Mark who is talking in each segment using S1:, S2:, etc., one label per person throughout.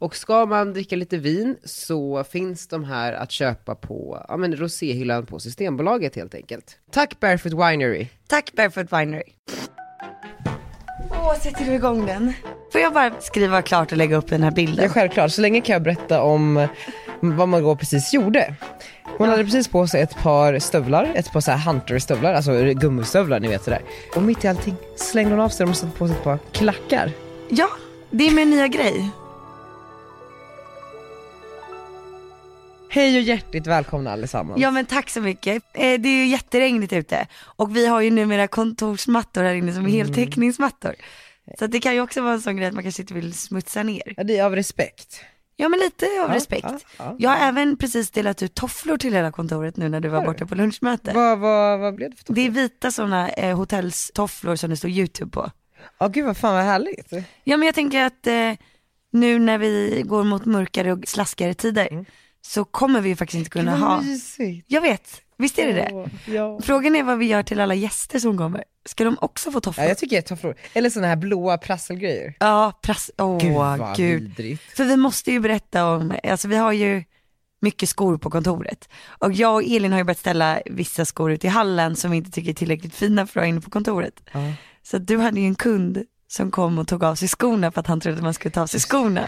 S1: Och ska man dricka lite vin så finns de här att köpa på ja, men roséhyllan på Systembolaget helt enkelt. Tack Barefoot Winery!
S2: Tack Barefoot Winery. Åh, sätter du igång den? Får jag bara skriva klart och lägga upp den här
S1: Ja,
S2: bilden?
S1: självklart. Så länge kan jag berätta om eh, vad Margot precis gjorde. Hon hade precis på sig ett par stövlar, ett par så här hunterstövlar, alltså gummistövlar ni vet sådär. Och mitt i allting slängde hon av sig dem och satte på sig ett par klackar.
S2: Ja, det är min nya grej.
S1: Hej och hjärtligt välkomna allesammans.
S2: Ja men tack så mycket. Eh, Det är ju jätteregnigt ute och vi har ju numera kontorsmattor här inne som är heltäckningsmattor. Så att det kan ju också vara en sån grej att man kanske inte vill smutsa ner.
S1: Ja, det är av respekt.
S2: Ja men lite av
S1: Ja,
S2: respekt.
S1: ja, ja.
S2: Jag har även precis delat ut tofflor till hela kontoret nu när du var borta på lunchmöte.
S1: Vad, vad, vad blev det för topp?
S2: Det är vita sådana eh, hotellstofflor som det står YouTube på.
S1: Ja gud vad fan vad härligt.
S2: Ja men jag tänker att eh, nu när vi går mot mörkare och slaskigare tider så kommer vi ju faktiskt inte kunna
S1: Mm. Vad
S2: ha.
S1: mysigt.
S2: Jag vet, visst är det det?
S1: Ja.
S2: Frågan är vad vi gör till alla gäster som kommer. Ska de också få tofflor?
S1: ja,
S2: Ja,
S1: jag tycker jag tar frågor. Eller sådana här blåa prasselgrejer.
S2: prass, åh
S1: Gud
S2: gud.
S1: vad vidrigt.
S2: För vi måste ju berätta om, alltså vi har ju mycket skor på kontoret. Och jag och Elin har ju börjat ställa vissa skor ute i hallen som vi inte tycker är tillräckligt fina för att ha inne på kontoret.
S1: Ja.
S2: Så att du hade ju en kund som kom och tog av sig skorna för att han trodde att man skulle ta av sig skorna.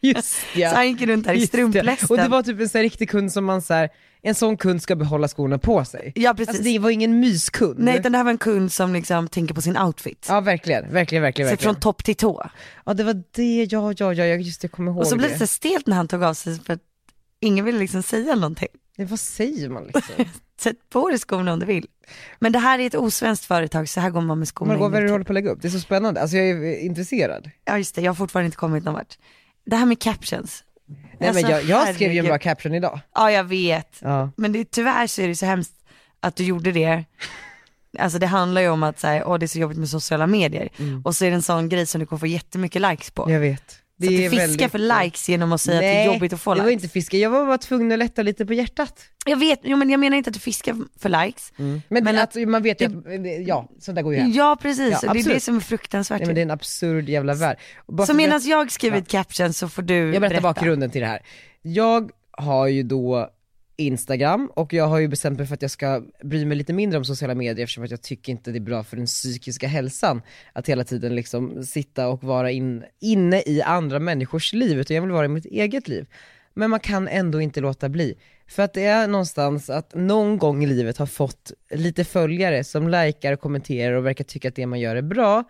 S1: Just ja.
S2: Så han gick runt där i
S1: Just det.
S2: strumplästen.
S1: Och det var typ en sån här riktig kund som man så här, en sån kund ska behålla skorna på sig.
S2: Ja precis.
S1: Alltså det var ingen myskund.
S2: Nej utan det här var en kund som liksom tänker på sin outfit.
S1: Ja verkligen, verkligen, verkligen.
S2: så
S1: verkligen.
S2: från topp till tå.
S1: Ja det var det, ja, ja, ja, jag- just det, jag kommer ihåg
S2: Och så blev det
S1: det.
S2: så stelt när han tog av sig för att ingen ville liksom säga någonting.
S1: det. Vad säger man liksom?
S2: Sätt på dig skorna om du vill. Men det här är ett osvenskt företag, så här går man med skorna
S1: Margot, vad är
S2: in.
S1: det
S2: i-
S1: du håller på att lägga upp? Det är så spännande, alltså jag är intresserad.
S2: Ja just det, jag har fortfarande inte kommit någon vart. Det här med captions.
S1: Nej
S2: Alltså,
S1: men jag, jag skrev ju en bra
S2: herregud.
S1: caption idag.
S2: Ja jag vet,
S1: Ja.
S2: men det, tyvärr så är det så hemskt att du gjorde det. Alltså det handlar ju om att så här, åh, det är så jobbigt med sociala medier.
S1: Mm.
S2: Och så är det en sån grej som du kommer få jättemycket likes på.
S1: Jag vet.
S2: så att du
S1: är
S2: fiskar
S1: väldigt-
S2: för likes genom att säga att det är jobbigt att få
S1: det
S2: likes.
S1: var inte fiska, jag var bara tvungen att lätta lite på hjärtat.
S2: Jag vet, jo, men jag menar inte att du fiskar för likes.
S1: Men,
S2: Men
S1: men
S2: att-
S1: alltså, man vet ju att, ja, sånt där går ju hem.
S2: Ja precis,
S1: Ja,
S2: och det är det
S1: absolut.
S2: som är fruktansvärt.
S1: Nej men det är en absurd jävla värld. Och bara
S2: Så
S1: för-
S2: medan jag skriver ett caption så får du
S1: Jag berättar
S2: berätta.
S1: bakgrunden till det här. Jag har ju då Instagram och jag har ju bestämt mig för att jag ska bry mig lite mindre om sociala medier eftersom att jag tycker inte det är bra för den psykiska hälsan att hela tiden liksom sitta och vara in, inne i andra människors liv utan jag vill vara i mitt eget liv. Men man kan ändå inte låta bli. För att det är någonstans att någon gång i livet har fått lite följare som likar och kommenterar och verkar tycka att det man gör är bra.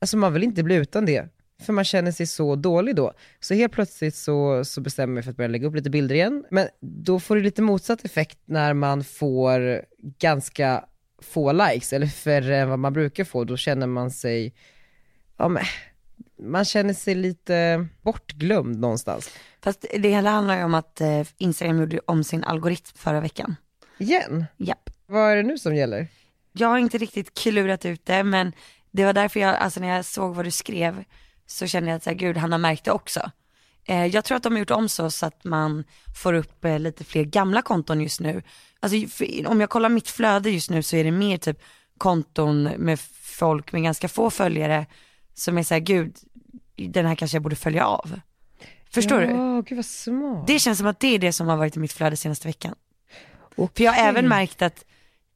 S1: Alltså man vill inte bli utan det, för man känner sig så dålig då. Så helt plötsligt så, så bestämmer jag mig för att börja lägga upp lite bilder igen. Men då får det lite motsatt effekt när man får ganska få likes, eller färre än vad man brukar få. Då känner man sig, ja men, man känner sig lite bortglömd någonstans.
S2: Fast det hela handlar ju om att eh, Instagram gjorde om sin algoritm förra veckan.
S1: Igen,
S2: Japp.
S1: vad är det nu som gäller?
S2: Jag har inte riktigt klurat ut det men det var därför jag, alltså när jag såg vad du skrev så kände jag att så här, gud han har märkt det också. Eh, jag tror att de har gjort om så, så att man får upp eh, lite fler gamla konton just nu. Alltså ju- för, om jag kollar mitt flöde just nu så är det mer typ konton med folk med ganska få följare som är så här, gud den här kanske jag borde följa av. Förstår du?
S1: Ja, gud vad smart.
S2: Det känns som att det är det som har varit i mitt flöde senaste veckan. För
S1: Okej.
S2: jag har även märkt att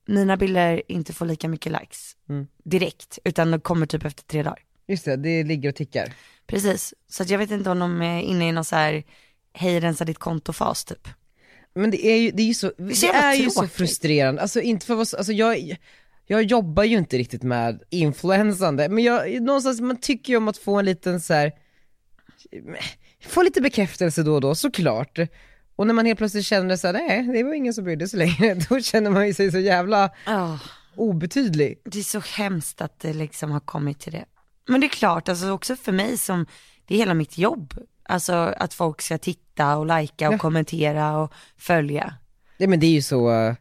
S2: mina bilder inte får lika mycket likes
S1: Mm.
S2: direkt, utan de kommer typ efter tre dagar.
S1: Just det, det ligger och tickar.
S2: Precis, så att jag vet inte om de är inne i någon så här hej rensa ditt konto-fas typ.
S1: Men det är ju, det är ju så,
S2: är
S1: det
S2: så
S1: är
S2: jävla
S1: ju så
S2: tråkigt.
S1: frustrerande. Alltså inte för vad, alltså jag, jag jobbar ju inte riktigt med influensande, men jag, någonstans, man tycker ju om att få en liten så här få lite bekräftelse då och då såklart. Och när man helt plötsligt känner så här, nej det var ingen som brydde sig längre, då känner man ju sig så jävla obetydlig.
S2: Det är så hemskt att det liksom har kommit till det. Men det är klart, alltså också för mig som, det är hela mitt jobb Alltså att folk ska titta och lajka och
S1: Ja.
S2: kommentera och följa.
S1: Nej men det är ju så, eh,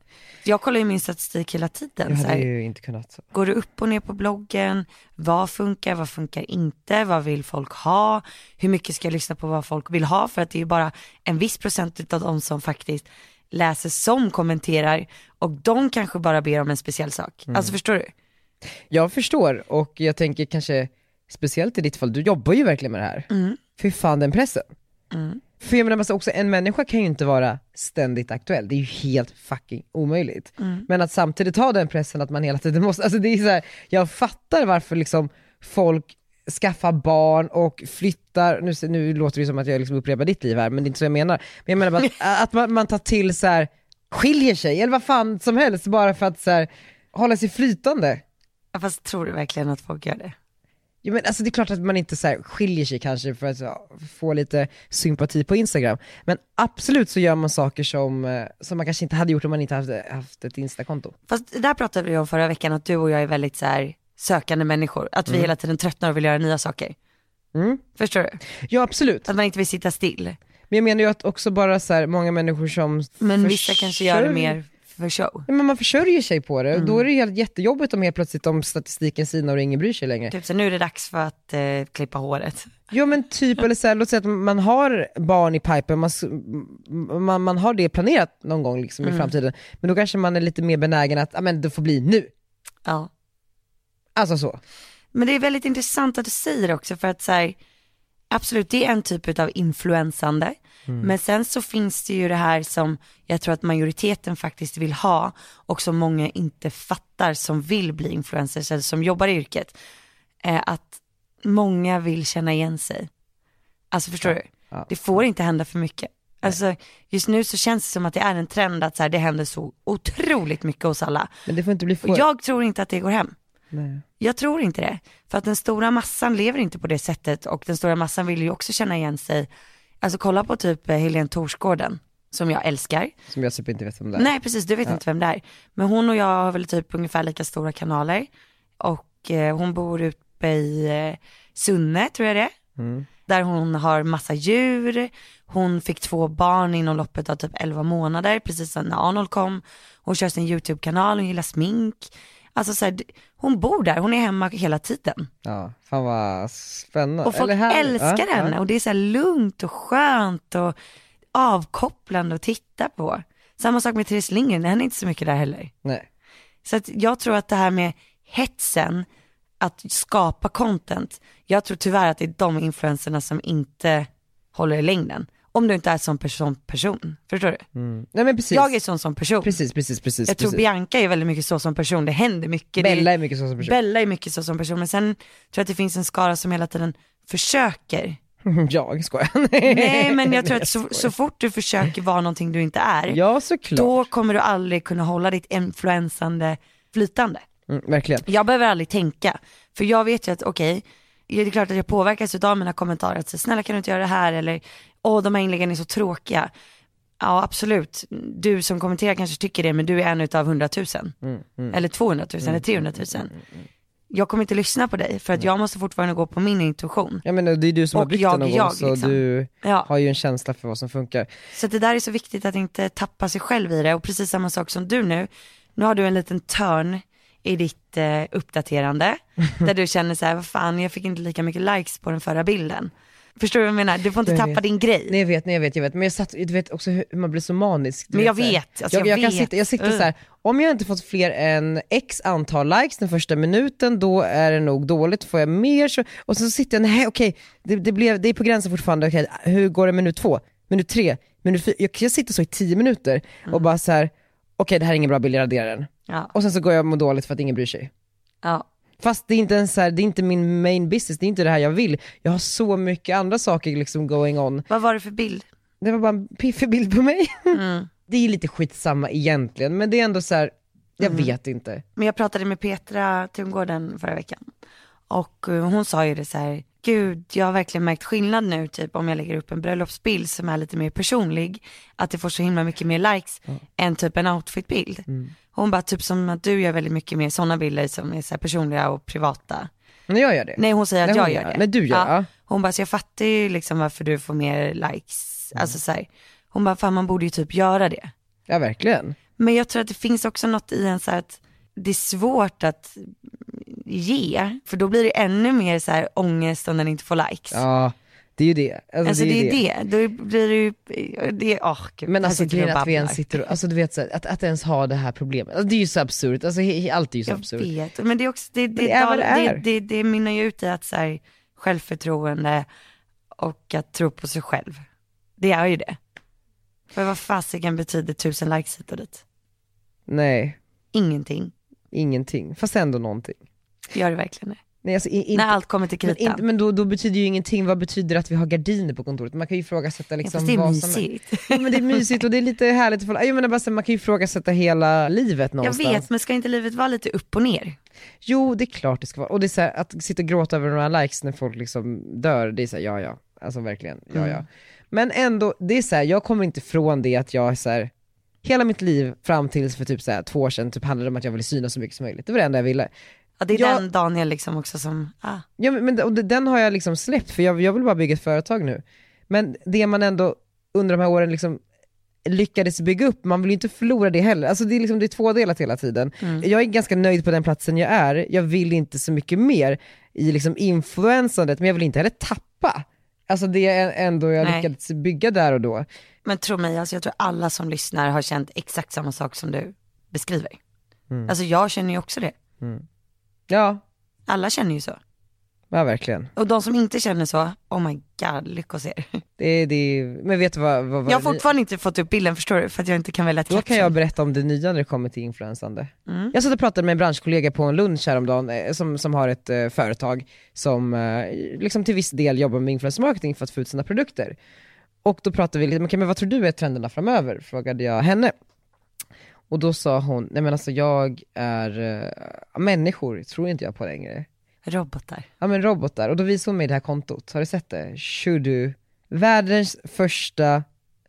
S2: Jag kollar ju min statistik hela tiden.
S1: jag
S2: så
S1: hade
S2: här.
S1: ju inte kunnat.
S2: Går du upp och ner på bloggen? Vad funkar, vad funkar inte? Vad vill folk ha? Hur mycket ska jag lyssna på vad folk vill ha? För att det är ju bara en viss procent av de som faktiskt läser som kommenterar och de kanske bara ber om en speciell sak. Alltså förstår du?
S1: Jag förstår och jag tänker kanske, speciellt i ditt fall, du jobbar ju verkligen med det här. Fy fan den pressen. För jag menar alltså också, en människa kan ju inte vara ständigt aktuell, det är ju helt fucking omöjligt. Men att samtidigt ha den pressen att man hela tiden måste, alltså det är så här, jag fattar varför liksom folk skaffar barn och flyttar, nu, se- nu låter det som att jag liksom upprepar ditt liv här, men det är inte så jag menar. Men jag menar bara att, att man, man tar till så här skiljer sig, eller vad fan som helst, bara för att så här, hålla sig flytande.
S2: Ja, Fast tror du verkligen att folk gör det?
S1: Ja, men alltså det är klart att man inte så här skiljer sig kanske för att ja, få lite sympati på Instagram. Men absolut så gör man saker som, eh, som man kanske inte hade gjort om man inte haft, haft ett Instakonto.
S2: Fast det där pratade vi om förra veckan att du och jag är väldigt så här sökande människor. Att vi hela tiden tröttnar och vill göra nya saker.
S1: Mm.
S2: Förstår du?
S1: Ja absolut,
S2: Att man inte vill sitta still.
S1: men jag menar ju att också bara så här, många människor som
S2: Men vissa
S1: försörj-
S2: kanske gör det mer Mm. för show.
S1: Ja, men man försörjer sig på det, och då är det ju helt jättejobbigt om helt plötsligt om statistiken sinar och ingen bryr sig längre.
S2: Typ så nu är det dags för att eh, klippa håret.
S1: Ja men typ, eller så här, låt säga att man har barn i pipen, man, s- m- man, man har det planerat någon gång liksom
S2: Mm.
S1: i framtiden, men då kanske man är lite mer benägen att, ja men det får bli nu.
S2: Ja.
S1: Alltså så.
S2: Men det är väldigt intressant att du säger det också för att så här, absolut det är en typ av influensande. Men sen så finns det ju det här som jag tror att majoriteten faktiskt vill ha och som många inte fattar som vill bli influencers eller som jobbar i yrket. Eh, att många vill känna igen sig. Alltså förstår du?
S1: ja.
S2: Det får inte hända för mycket. Alltså just nu så känns det som att det är en trend att så här, det händer så otroligt mycket hos alla.
S1: Men det får inte bli
S2: Och
S1: för...
S2: jag tror inte att det går hem.
S1: Nej.
S2: Jag tror inte det. För att den stora massan lever inte på det sättet och den stora massan vill ju också känna igen sig. Alltså kolla på typ eh, Helene Torsgården som jag älskar.
S1: Som jag typ inte vet om det är.
S2: Nej precis, du vet inte vem det är. Men hon och jag har väl typ ungefär lika stora kanaler. Och eh, hon bor uppe i eh, Sunne tror jag det är.
S1: Mm.
S2: Där hon har massa djur. Hon fick två barn inom loppet av typ 11 månader, precis när Arnold kom. Hon kör sin YouTube-kanal, hon gillar smink. Alltså så här, d- hon bor där, hon är hemma hela tiden.
S1: Ja, fan vad spännande.
S2: Och folk
S1: Eller här-
S2: älskar
S1: ja,
S2: henne
S1: Ja.
S2: och det är så här lugnt och skönt och avkopplande att titta på. Samma sak med Therese Lindgren, henne är inte så mycket där heller.
S1: Nej.
S2: Så att jag tror att det här med hetsen, att skapa content, jag tror tyvärr att det är de influencerna som inte håller i längden. Om du inte är som person, person. förstår du?
S1: Mm. Nej men precis.
S2: Jag är sån som person.
S1: Precis, precis, precis.
S2: jag tror
S1: precis.
S2: Bianca är väldigt mycket så som person, det händer mycket. det är-
S1: Bella är mycket så som person.
S2: Bella är mycket så som person, men sen tror jag att det finns en skara som hela tiden försöker.
S1: jag skojar.
S2: Nej men jag tror att så,
S1: skojar.
S2: så fort du försöker vara någonting du inte är,
S1: Ja såklart.
S2: då kommer du aldrig kunna hålla ditt influensande flytande.
S1: Mm, verkligen.
S2: Jag behöver aldrig tänka, för jag vet ju att okej, det är klart att jag påverkas av mina kommentarer, att så, snälla kan du inte göra det här eller åh de här inläggen är så tråkiga. Ja absolut, du som kommenterar kanske tycker det men du är en utav 100 000. Eller 200 000 eller 300 000. Jag kommer inte lyssna på dig för att jag måste fortfarande gå på min intuition.
S1: Ja men det är du som har
S2: Och
S1: byggt
S2: jag
S1: den någon gång
S2: är jag,
S1: så
S2: liksom.
S1: du
S2: Ja.
S1: har ju en känsla för vad som funkar.
S2: Så att det där är så viktigt att inte tappa sig själv i det och precis samma sak som du nu. Nu har du en liten törn i ditt eh, uppdaterande där du känner så här, vad fan jag fick inte lika mycket likes på den förra bilden. Förstår du vad jag menar? Du får inte
S1: Jag
S2: tappa
S1: vet.
S2: din grej.
S1: Nej jag vet, nej jag vet, jag vet. Men jag satt, du vet också hur hur man blir så manisk. Du
S2: Men jag
S1: så här.
S2: vet, alltså jag
S1: Kan
S2: vet.
S1: sitta, jag sitter
S2: Mm.
S1: så här. om jag inte fått fler än x antal likes den första minuten, då är det nog dåligt. Får jag mer så, och så sitter jag, nej okej, det, det, blev, det är på gränsen fortfarande, okej, hur går det minut två, minut tre, minut fyra? Jag, jag sitter så i tio minuter
S2: Mm.
S1: och bara så här. okej det här är ingen bra bild, jag raderar den.
S2: Ja,
S1: Och sen så går jag och mår dåligt för att ingen bryr sig.
S2: ja.
S1: Fast det är inte ens så här, det är inte min main business, det är inte det här jag vill. Jag har så mycket andra saker liksom going on.
S2: Vad var det för bild?
S1: Det var bara en piffig bild på mig.
S2: Mm.
S1: Det är lite skitsamma egentligen, men det är ändå så här. jag
S2: Mm.
S1: vet inte.
S2: Men jag pratade med Petra Tungården förra veckan och eh, hon sa ju det så här, gud jag har verkligen märkt skillnad nu typ om jag lägger upp en bröllopsbild som är lite mer personlig, att det får så himla mycket mer likes än typ en
S1: Mm.
S2: outfitbild. Hon bara typ som att du gör väldigt mycket mer sådana bilder som är så här personliga och privata.
S1: Men jag gör det.
S2: Nej hon säger att
S1: Nej,
S2: jag
S1: hon
S2: gör
S1: gör-
S2: det.
S1: nej, du gör det, ja.
S2: Hon bara, så jag fattar ju liksom varför du får mer likes.
S1: Mm.
S2: Alltså så här. Hon bara, fan man borde ju typ göra det.
S1: Ja verkligen.
S2: Men jag tror att det finns också något i en så här att det är svårt att ge, för då blir det ännu mer så här ångest om den inte får likes.
S1: Ja, det är ju det. Alltså,
S2: Alltså det är
S1: det.
S2: det, då blir det ju, det är, åh gud.
S1: Men
S2: här
S1: alltså
S2: sitter vi och
S1: grejen är att vi
S2: babblar.
S1: ens sitter och, alltså du vet så här, att, att ens ha det här problemet, alltså, det är ju så absurt, alltså he, he, allt är ju så
S2: Jag
S1: absurt.
S2: vet, men det är också, det, det,
S1: det är vad
S2: dal-
S1: det
S2: det,
S1: är.
S2: det, det, mynnar ju ut i att så här, självförtroende och att tro på sig själv. Det är ju det. För vad fasiken betyder tusen likes hit och dit?
S1: Nej,
S2: Ingenting.
S1: ingenting. Fast ändå någonting.
S2: Gör det verkligen det?
S1: Nej alltså i- inte,
S2: När allt kommer till
S1: men,
S2: kritan.
S1: inte, men då, då betyder ju ingenting, vad betyder att vi har gardiner på kontoret? Man kan ju ifrågasätta
S2: Ja,
S1: liksom
S2: fast det är
S1: vad som är.
S2: mysigt.
S1: Ja, men det är mysigt och det är lite härligt att få, jag menar bara så här, man kan ju ifrågasätta hela livet
S2: Jag
S1: någonstans.
S2: vet, men ska inte livet vara lite upp och ner?
S1: Jo det är klart det ska vara, och det är så här, att sitta och gråta över några likes när folk liksom dör, det är såhär ja ja, alltså verkligen, ja ja. Men ändå, det är så här, jag kommer inte från det att jag är så här. hela mitt liv fram tills för typ så här, två år sedan typ handlade det om att jag ville synas så mycket som möjligt, det var det enda jag ville.
S2: Ja, det är
S1: Jag-
S2: den Daniel liksom också som, ah,
S1: Ja, men, men, och det- den har jag liksom släppt för jag, jag vill bara bygga ett företag nu. Men det man ändå under de här åren liksom lyckades bygga upp, man vill ju inte förlora det heller. Alltså det är, liksom, det är tvådelat hela tiden.
S2: Mm.
S1: Jag är ganska nöjd på den platsen jag är, jag vill inte så mycket mer i liksom influensandet, men jag vill inte heller tappa. Alltså det är ändå jag
S2: Nej.
S1: lyckades bygga där och då.
S2: men tro mig, alltså jag tror alla som lyssnar har känt exakt samma sak som du beskriver.
S1: Mm.
S2: Alltså jag känner ju också det.
S1: Ja,
S2: Alla känner ju så.
S1: ja verkligen.
S2: Och de som inte känner så, oh my god, lyckos er.
S1: Det, är- det, är- men vet du vad, vad, vad
S2: Jag har fortfarande inte fått upp bilden förstår du, för att jag inte kan välja Mm.
S1: Då kan
S2: klacken.
S1: jag berätta om det nya när det kommer till influensande. Jag satt och pratade med en branschkollega på en lunch häromdagen eh, som, som har ett eh, företag som eh, liksom till viss del jobbar med influencer marketing för att få ut sina produkter. Och då pratade vi lite, men, okej, men vad tror du är trenderna framöver? Frågade jag henne. Och då sa hon, nej men alltså jag är, eh, människor tror inte jag på längre.
S2: Robotar.
S1: Ja men robotar, och då visade hon mig det här kontot, har du sett det? Shudu, världens första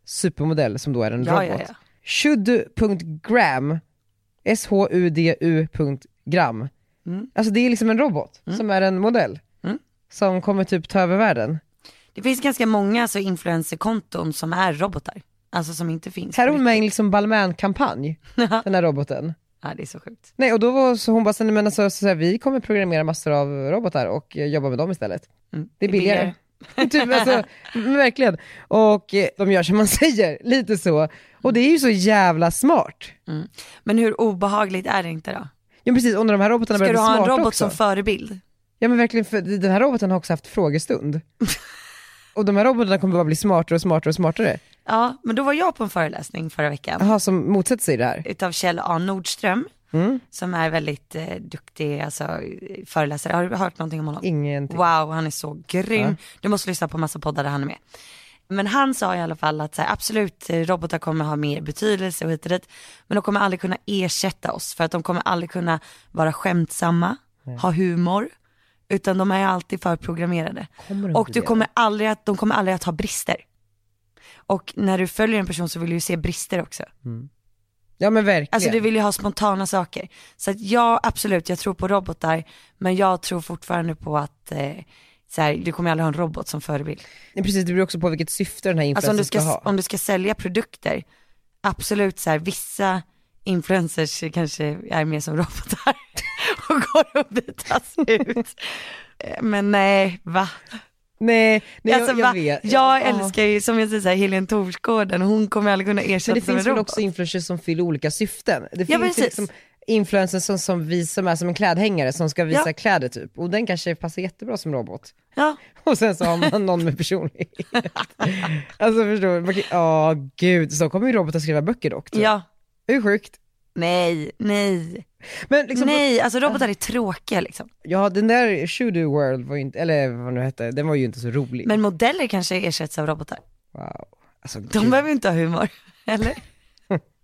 S1: supermodell som då är en
S2: Ja,
S1: robot.
S2: ja, ja.
S1: Shudu.gram, S-H-U-D-U.gram.
S2: Mm.
S1: Alltså det är liksom en robot som är en modell.
S2: Mm.
S1: Som kommer typ ta över världen.
S2: Det finns ganska många så influencerkonton som är robotar. Alltså som inte finns.
S1: Här är hon med i en liksom Balmain-kampanj,
S2: Ja.
S1: den här roboten.
S2: ja, det är så sjukt.
S1: Nej och då var så hon bara, så, nej, men alltså, så, här, vi kommer programmera massor av robotar och eh, jobba med dem istället.
S2: Mm.
S1: Det är billigare. typ, alltså, men verkligen. Och eh, de gör som man säger, lite så. Och det är ju så jävla smart.
S2: Mm. Men hur obehagligt är det inte då?
S1: Ja precis, och när de här robotarna
S2: Ska
S1: börjar
S2: du
S1: bli
S2: ha en
S1: smarta
S2: robot
S1: också.
S2: som förebild?
S1: Ja men verkligen, för den här roboten har också haft frågestund. och de här robotarna kommer bara bli smartare och smartare och smartare.
S2: Ja, men då var jag på en föreläsning förra veckan
S1: Jaha, som motsätter sig det här.
S2: utav Kjell A Nordström som är väldigt eh, duktig alltså, eh, föreläsare. Har du hört någonting om honom?
S1: Ingenting.
S2: Wow, han är så grym. Du måste lyssna på massa poddar där han är med. Men han sa i alla fall att så här, absolut, eh, robotar kommer ha mer betydelse och hit och dit. Men de kommer aldrig kunna ersätta oss för att de kommer aldrig kunna vara skämtsamma, ha humor. Utan de är ju alltid förprogrammerade.
S1: Kommer de
S2: och
S1: bli
S2: du
S1: det?
S2: kommer aldrig att, de kommer aldrig att ha brister. Och när du följer en person så vill du ju se brister också.
S1: Ja men verkligen.
S2: Alltså du vill ju ha spontana saker. Så att jag, absolut, jag tror på robotar, men jag tror fortfarande på att eh, så här, du kommer aldrig ha en robot som förebild.
S1: Nej, precis, det beror också på vilket syfte den här influensen
S2: Alltså om du
S1: ska,
S2: ska,
S1: ha.
S2: om du ska sälja produkter, absolut så här, vissa influencers kanske är mer som robotar och går och bytas ut. Eh, Men nej, va?
S1: Nej, nej
S2: alltså,
S1: jag, jag
S2: va?
S1: vet.
S2: jag
S1: Ja.
S2: älskar ju, som jag säger så här, Helene Torsgården, hon kommer aldrig kunna
S1: Men
S2: ersättas
S1: det
S2: av en
S1: finns väl
S2: robot.
S1: också influencers som fyller olika syften. Det finns ju
S2: precis.
S1: liksom influencers som, som vi som är som en klädhängare som ska visa
S2: Ja.
S1: kläder typ. Och den kanske passar jättebra som robot.
S2: Ja.
S1: Och sen så har man någon med personlighet. alltså förstår du? Man kan- Ja gud, så kommer ju robotar skriva böcker dock. Typ.
S2: ja,
S1: Det är sjukt.
S2: nej, nej.
S1: Men liksom,
S2: Nej, alltså robotar är tråkiga liksom.
S1: ja den där Shudo World var ju inte, eller vad nu hette, den var ju inte så rolig.
S2: Men modeller kanske ersätts av robotar.
S1: Wow. Alltså,
S2: De
S1: gud.
S2: behöver inte ha humor, eller?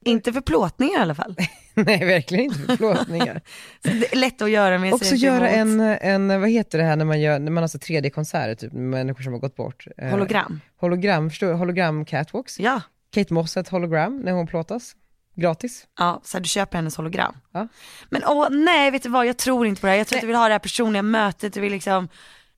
S2: inte för plåtningar i alla fall.
S1: Nej verkligen inte för plåtningar.
S2: Så det är lätt att göra med
S1: Också
S2: sig
S1: göra
S2: emot.
S1: en, en, vad heter det här när man gör, när man har så 3D-konserter typ, med människor som har gått bort. Eh,
S2: hologram.
S1: Hologram, förstår du? Hologram catwalks.
S2: Ja,
S1: Kate Moss är ett hologram när hon plåtas. gratis.
S2: Ja, så här, du köper hennes hologram.
S1: Ja.
S2: Men åh nej, vet du vad, jag tror inte på det här. Jag tror att du vill ha det här personliga mötet, du vill liksom,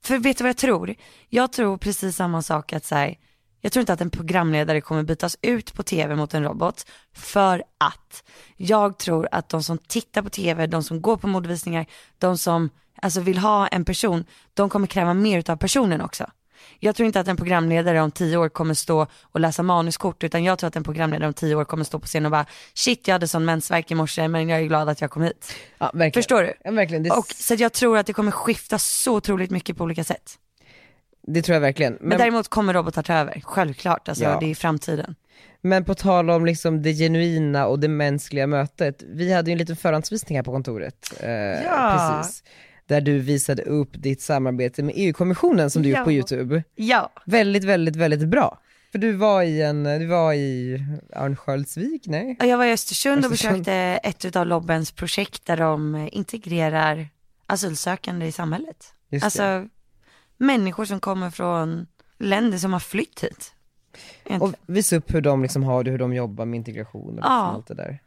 S2: för vet du vad jag tror? Jag tror precis samma sak att så här, jag tror inte att en programledare kommer bytas ut på tv mot en robot för att jag tror att de som tittar på tv, de som går på modevisningar, de som alltså vill ha en person, de kommer kräva mer av personen också. Jag tror inte att en programledare om tio år kommer stå och läsa manuskort utan jag tror att en programledare om tio år kommer stå på scen och bara shit jag hade sån mensvärk i morse men jag är glad att jag kom hit.
S1: Ja, verkligen.
S2: Förstår du?
S1: Ja, verkligen. Det,
S2: Och, så att jag tror att det kommer skifta så otroligt mycket på olika sätt.
S1: det tror jag verkligen. Men,
S2: Men
S1: men,
S2: däremot kommer robotar ta över, självklart. Alltså,
S1: Ja.
S2: Det är framtiden.
S1: på tal om liksom det genuina och det mänskliga mötet, vi hade ju en liten förhandsvisning här på kontoret. Eh,
S2: Ja.
S1: Precis. Där du visade upp ditt samarbete med EU-kommissionen som du gjort på
S2: Ja.
S1: YouTube.
S2: Ja,
S1: Väldigt, väldigt, väldigt bra. För du var i en, du var i Örnsköldsvik, nej?
S2: jag var i Östersund och
S1: Östersund.
S2: besökte ett av Lobbens projekt där de integrerar asylsökande i samhället.
S1: Just det.
S2: Alltså människor som kommer från länder som har flytt hit.
S1: Och visa upp hur de liksom har det, hur de jobbar med integration och liksom
S2: Ja.
S1: allt det där.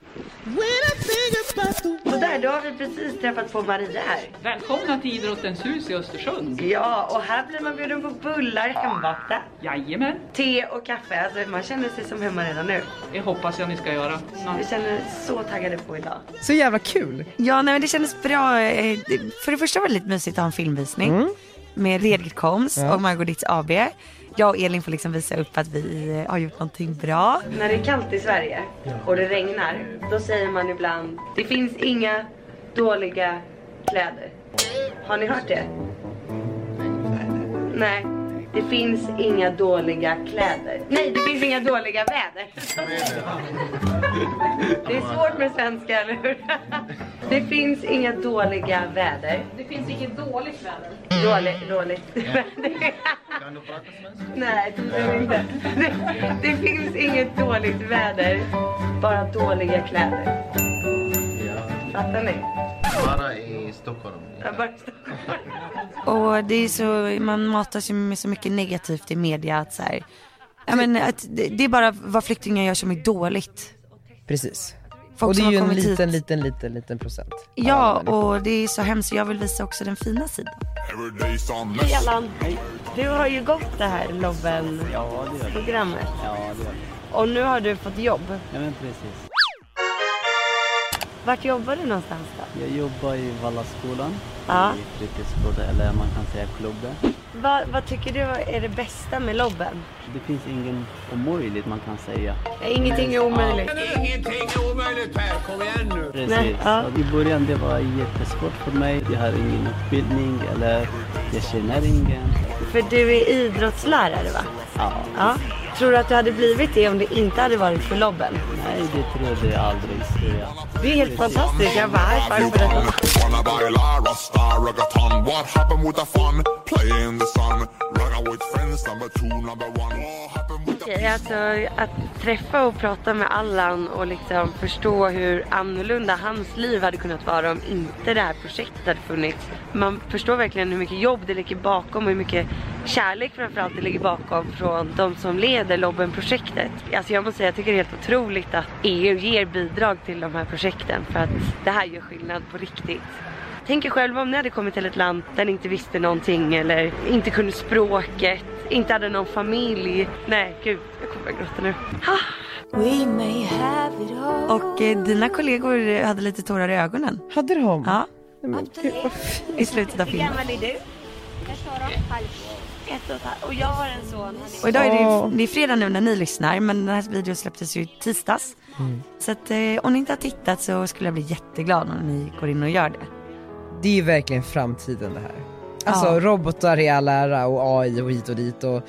S2: där, då har vi precis träffat på Maria här.
S3: Välkomna till Idrottens hus i Östersund.
S2: Ja, och här blir man bjuden på bullar hembakta,
S3: Jajamän,
S2: te och kaffe. Alltså man känner sig som hemma redan nu.
S3: det hoppas jag ni ska göra.
S2: Vi känner så taggade på idag.
S1: Så jävla kul!
S2: Ja, nej men det kändes bra. Eh, det- För det första var det lite mysigt att ha en filmvisning med Redgerkoms och Margot Dietz AB. Jag och Elin får liksom visa upp att vi eh, har gjort någonting bra.
S4: När det är kallt i Sverige och det regnar, då säger man ibland det finns inga dåliga kläder. Har ni hört det? Nej. Det finns inga dåliga kläder. Nej, det finns inga dåliga väder. Det är svårt med svenska, eller hur? Det finns inga dåliga väder. Det finns inget dåligt väder. Dåligt, dåligt väder. Nej, det tror jag inte. Det, det finns inget dåligt väder, bara dåliga kläder. Fattar ni?
S5: Bara i Stockholm.
S4: Jag bara...
S2: Och det är så, man matas ju med så mycket negativt i media att så här, ja, men, att det, det är bara vad flyktingar gör som är dåligt.
S1: Precis.
S2: Folk
S1: och det
S2: som
S1: är ju
S2: har
S1: en
S2: kommit
S1: liten,
S2: hit.
S1: liten, liten, liten procent.
S2: Ja, och det är så hemskt. Jag vill visa också den fina sidan.
S6: Every day's some mess.
S4: Du har ju gått det här Lobben-programmet. Ja, det Och nu har du fått jobb.
S7: Ja men precis.
S4: Vart jobbar du någonstans då?
S7: Jag jobbar i Vallaskolan,
S4: Ja.
S7: i fritidsgården eller man kan säga klubben.
S4: Va, vad tycker du är det bästa med Lobben?
S7: Det finns ingen omöjligt man kan säga.
S4: Ingenting är omöjligt. Nej,
S7: Precis.
S4: ja.
S7: Och I början det var jättesvårt för mig. Jag har ingen utbildning eller jag känner ingen.
S4: För du är idrottslärare va?
S7: Ja,
S4: Ja. Tror du att du hade blivit det om det inte hade varit för Lobben?
S7: nej det trodde jag aldrig skulle jag.
S4: Det är helt fantastiskt. Jag bara, high five för detta.
S6: Wanna buy Lara Star Reggaeton? What happened with the fun? Play in the sun. Ragga with friends, number two, number one. What happened with the
S4: Okej, Alltså, att träffa och prata med Allan och liksom förstå hur annorlunda hans liv hade kunnat vara om inte det här projektet hade funnits. Man förstår verkligen hur mycket jobb det ligger bakom och hur mycket kärlek framförallt det ligger bakom från de som leder Lobben-projektet. Alltså jag måste säga, jag tycker det är helt otroligt att EU ger bidrag till de här projekten för att det här gör skillnad på riktigt. Tänk er själva om ni hade kommit till ett land där ni inte visste någonting eller inte kunde språket, inte hade någon familj. Nej, gud, jag kommer börja gråta nu.
S2: Och eh, dina kollegor hade lite tårar i ögonen.
S1: Hade de?
S2: Ja,
S1: Men gud, vad fint.
S2: i slutet av filmen.
S4: Och jag har en son.
S2: Och idag är det,
S1: Ja.
S2: ju, det är fredag nu när ni lyssnar men den här videon släpptes ju i tisdags.
S1: Mm.
S2: Så att eh, om ni inte har tittat så skulle jag bli jätteglad om ni går in och gör det.
S1: Det är ju verkligen framtiden det här. Alltså
S2: Ja.
S1: robotar i all ära och AI och hit och dit och,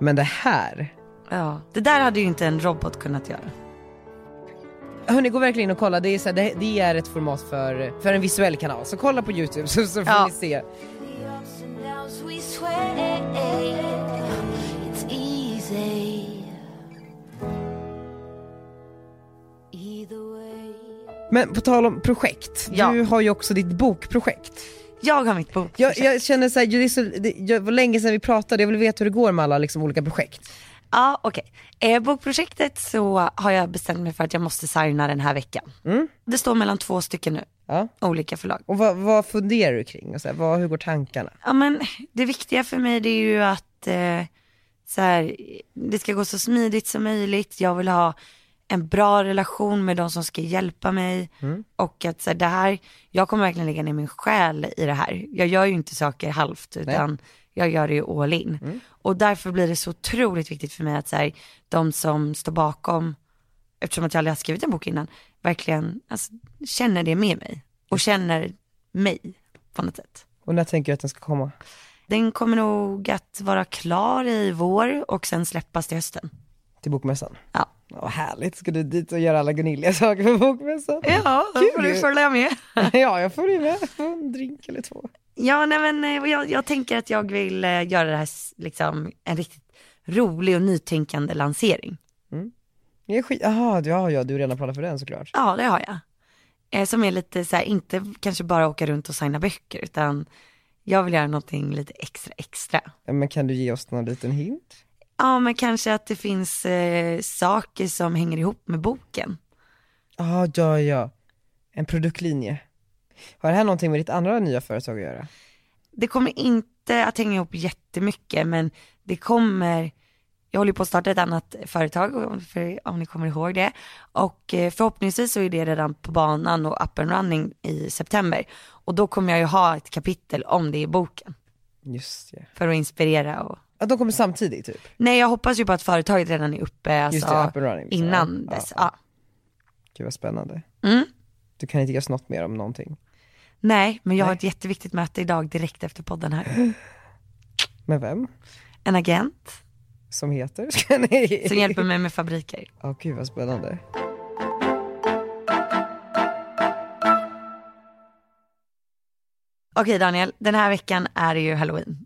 S1: men det här.
S2: Ja. Det där hade ju inte en robot kunnat göra.
S1: Hörni gå verkligen in och kolla, det är, så här, det, det är ett format för, för en visuell kanal. Så kolla på YouTube så, så får
S2: Ja.
S1: ni se.
S8: It's easy. Either way.
S1: Men på tal om projekt,
S2: Ja.
S1: du har ju också ditt bokprojekt.
S2: Jag har mitt bok.
S1: Jag, jag känner såhär, det, är så- det jag- var länge sedan vi pratade, jag vill veta hur det går med alla liksom, olika projekt.
S2: Ja, okej. Eh, bokprojektet så har jag bestämt mig för att jag måste signa den här veckan. Det står mellan två stycken nu,
S1: Mm. Ja.
S2: olika förlag.
S1: Och vad, vad funderar du kring? Och så här, vad, hur går tankarna?
S2: Ja men det viktiga för mig det är ju att eh, så här, det ska gå så smidigt som möjligt. Jag vill ha en bra relation med de som ska hjälpa mig. Och att så här, det här, jag kommer verkligen lägga ner min själ i det här. Jag gör ju inte saker halvt utan jag gör det ju all in. Och därför blir det så otroligt viktigt för mig att så här, de som står bakom, eftersom att jag aldrig har skrivit en bok innan, verkligen alltså, känner det med mig. Och känner mig på något sätt.
S1: Och när tänker du att den ska komma?
S2: Den kommer nog att vara klar i vår och sen släppas till hösten.
S1: Till bokmässan?
S2: Ja.
S1: Ja, Vad härligt, ska du dit och göra alla Gunilla-saker på bokmässan?
S2: Ja, då får
S1: Kul
S2: du
S1: ju.
S2: följa med.
S1: ja, jag får ju med Få en drink eller två.
S2: Ja, nej men eh, och jag, jag tänker att jag vill eh, göra det här s- liksom en riktigt rolig och nytänkande lansering.
S1: Det är skit, jaha, du- ja, ja, du har redan planerat för den såklart.
S2: Ja, det har jag. Eh, som är lite så här, inte kanske bara åka runt och signa böcker, utan jag vill göra någonting lite extra extra.
S1: Men kan du ge oss någon liten hint?
S2: Ja, men kanske att det finns eh, saker som hänger ihop med boken.
S1: Ja, ja, ja. En produktlinje. Har det här någonting med ditt andra nya företag att göra?
S2: det kommer inte att hänga ihop jättemycket men det kommer, jag håller ju på att starta ett annat företag om, för, om ni kommer ihåg det och eh, förhoppningsvis så är det redan på banan och up and running i september och då kommer jag ju ha ett kapitel om det i boken
S1: Just det.
S2: för att inspirera och
S1: Att de kommer samtidigt typ?
S2: Nej jag hoppas ju på att företaget redan är uppe alltså,
S1: Just det, up and running. liksom.
S2: innan
S1: Ja,
S2: dess.
S1: Ja.
S2: Ja.
S1: Gud vad spännande.
S2: Mm.
S1: Du kan inte ge oss något mer om någonting.
S2: Nej men jag har
S1: Nej.
S2: ett jätteviktigt möte idag direkt efter podden här.
S1: Med vem?
S2: En agent
S1: Som heter? Ska ni?
S2: som hjälper mig med fabriker.
S1: Ja, gud vad spännande.
S2: Okej Daniel, den här veckan är det ju halloween.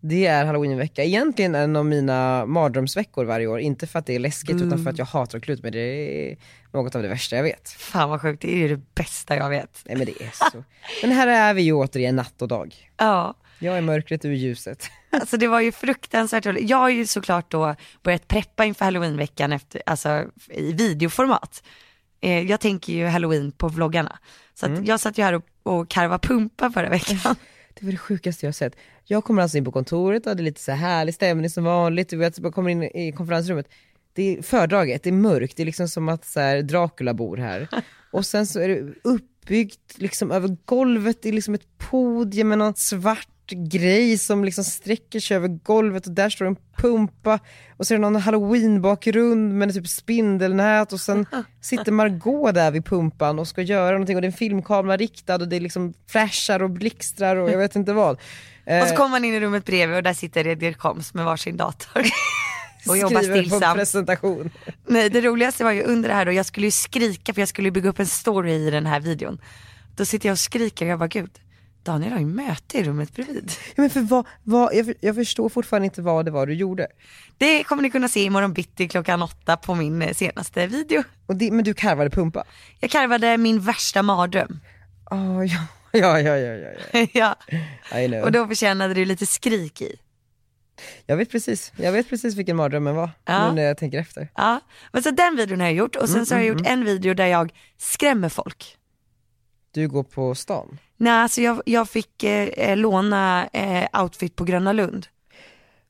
S1: Det är halloweenvecka, egentligen en av mina mardrömsveckor varje år. Inte för att det är läskigt utan
S2: Mm.
S1: för att jag hatar att klä ut mig. Det är något av det värsta jag vet.
S2: Fan vad sjukt, det är ju det bästa jag vet.
S1: Nej men det är så. Men här är vi ju återigen natt och dag.
S2: Ja,
S1: Jag är mörkret, du är ljuset.
S2: alltså det var ju fruktansvärt roligt. Jag har ju såklart då börjat preppa inför halloweenveckan efter, alltså i videoformat. Eh, jag tänker ju halloween på vloggarna. Så att
S1: Mm.
S2: jag satt ju här och, och karvade pumpa förra veckan.
S1: Det var det sjukaste jag har sett. Jag kommer alltså in på kontoret och hade lite så här härlig stämning som vanligt, du vet, jag kommer in i konferensrummet. Det är fördraget, det är mörkt, det är liksom som att så här, Dracula bor här. Och sen så är det uppbyggt liksom över golvet, det är liksom ett podium med någon svart grej som liksom sträcker sig över golvet och där står en pumpa och så är det någon halloween-bakgrund med typ spindelnät och sen sitter Margot där vid pumpan och ska göra någonting och det är en filmkamera riktad och det är liksom flashar och blixtrar och jag vet inte vad. Eh.
S2: Och så kommer man in i rummet bredvid och där sitter Redger Koms med varsin dator. Och jobbar
S1: Skriver på en
S2: stillsamt.
S1: presentation.
S2: Nej, det roligaste var ju under det här då, jag skulle ju skrika för jag skulle ju bygga upp en story i den här videon. Då sitter jag och skriker och jag bara gud, Daniel har ju möte i rummet bredvid.
S1: Ja, men för vad, vad, jag, för- jag förstår fortfarande inte vad det var du gjorde.
S2: Det kommer ni kunna se imorgon bitti klockan åtta på min eh, senaste video.
S1: Och det, men du karvade pumpa?
S2: Jag karvade min värsta mardröm.
S1: Oh, ja, ja, ja, ja, ja,
S2: ja.
S1: ja. I know.
S2: Och då förtjänade det lite skrik i.
S1: Jag vet precis, jag vet precis vilken mardrömmen var,
S2: Ja.
S1: nu när jag tänker efter.
S2: Ja. Men så den videon har jag gjort och
S1: Mm,
S2: sen så har jag gjort en video där jag skrämmer folk.
S1: Du går på stan.
S2: Nej, alltså jag, jag fick eh, eh, låna eh, outfit på Gröna Lund.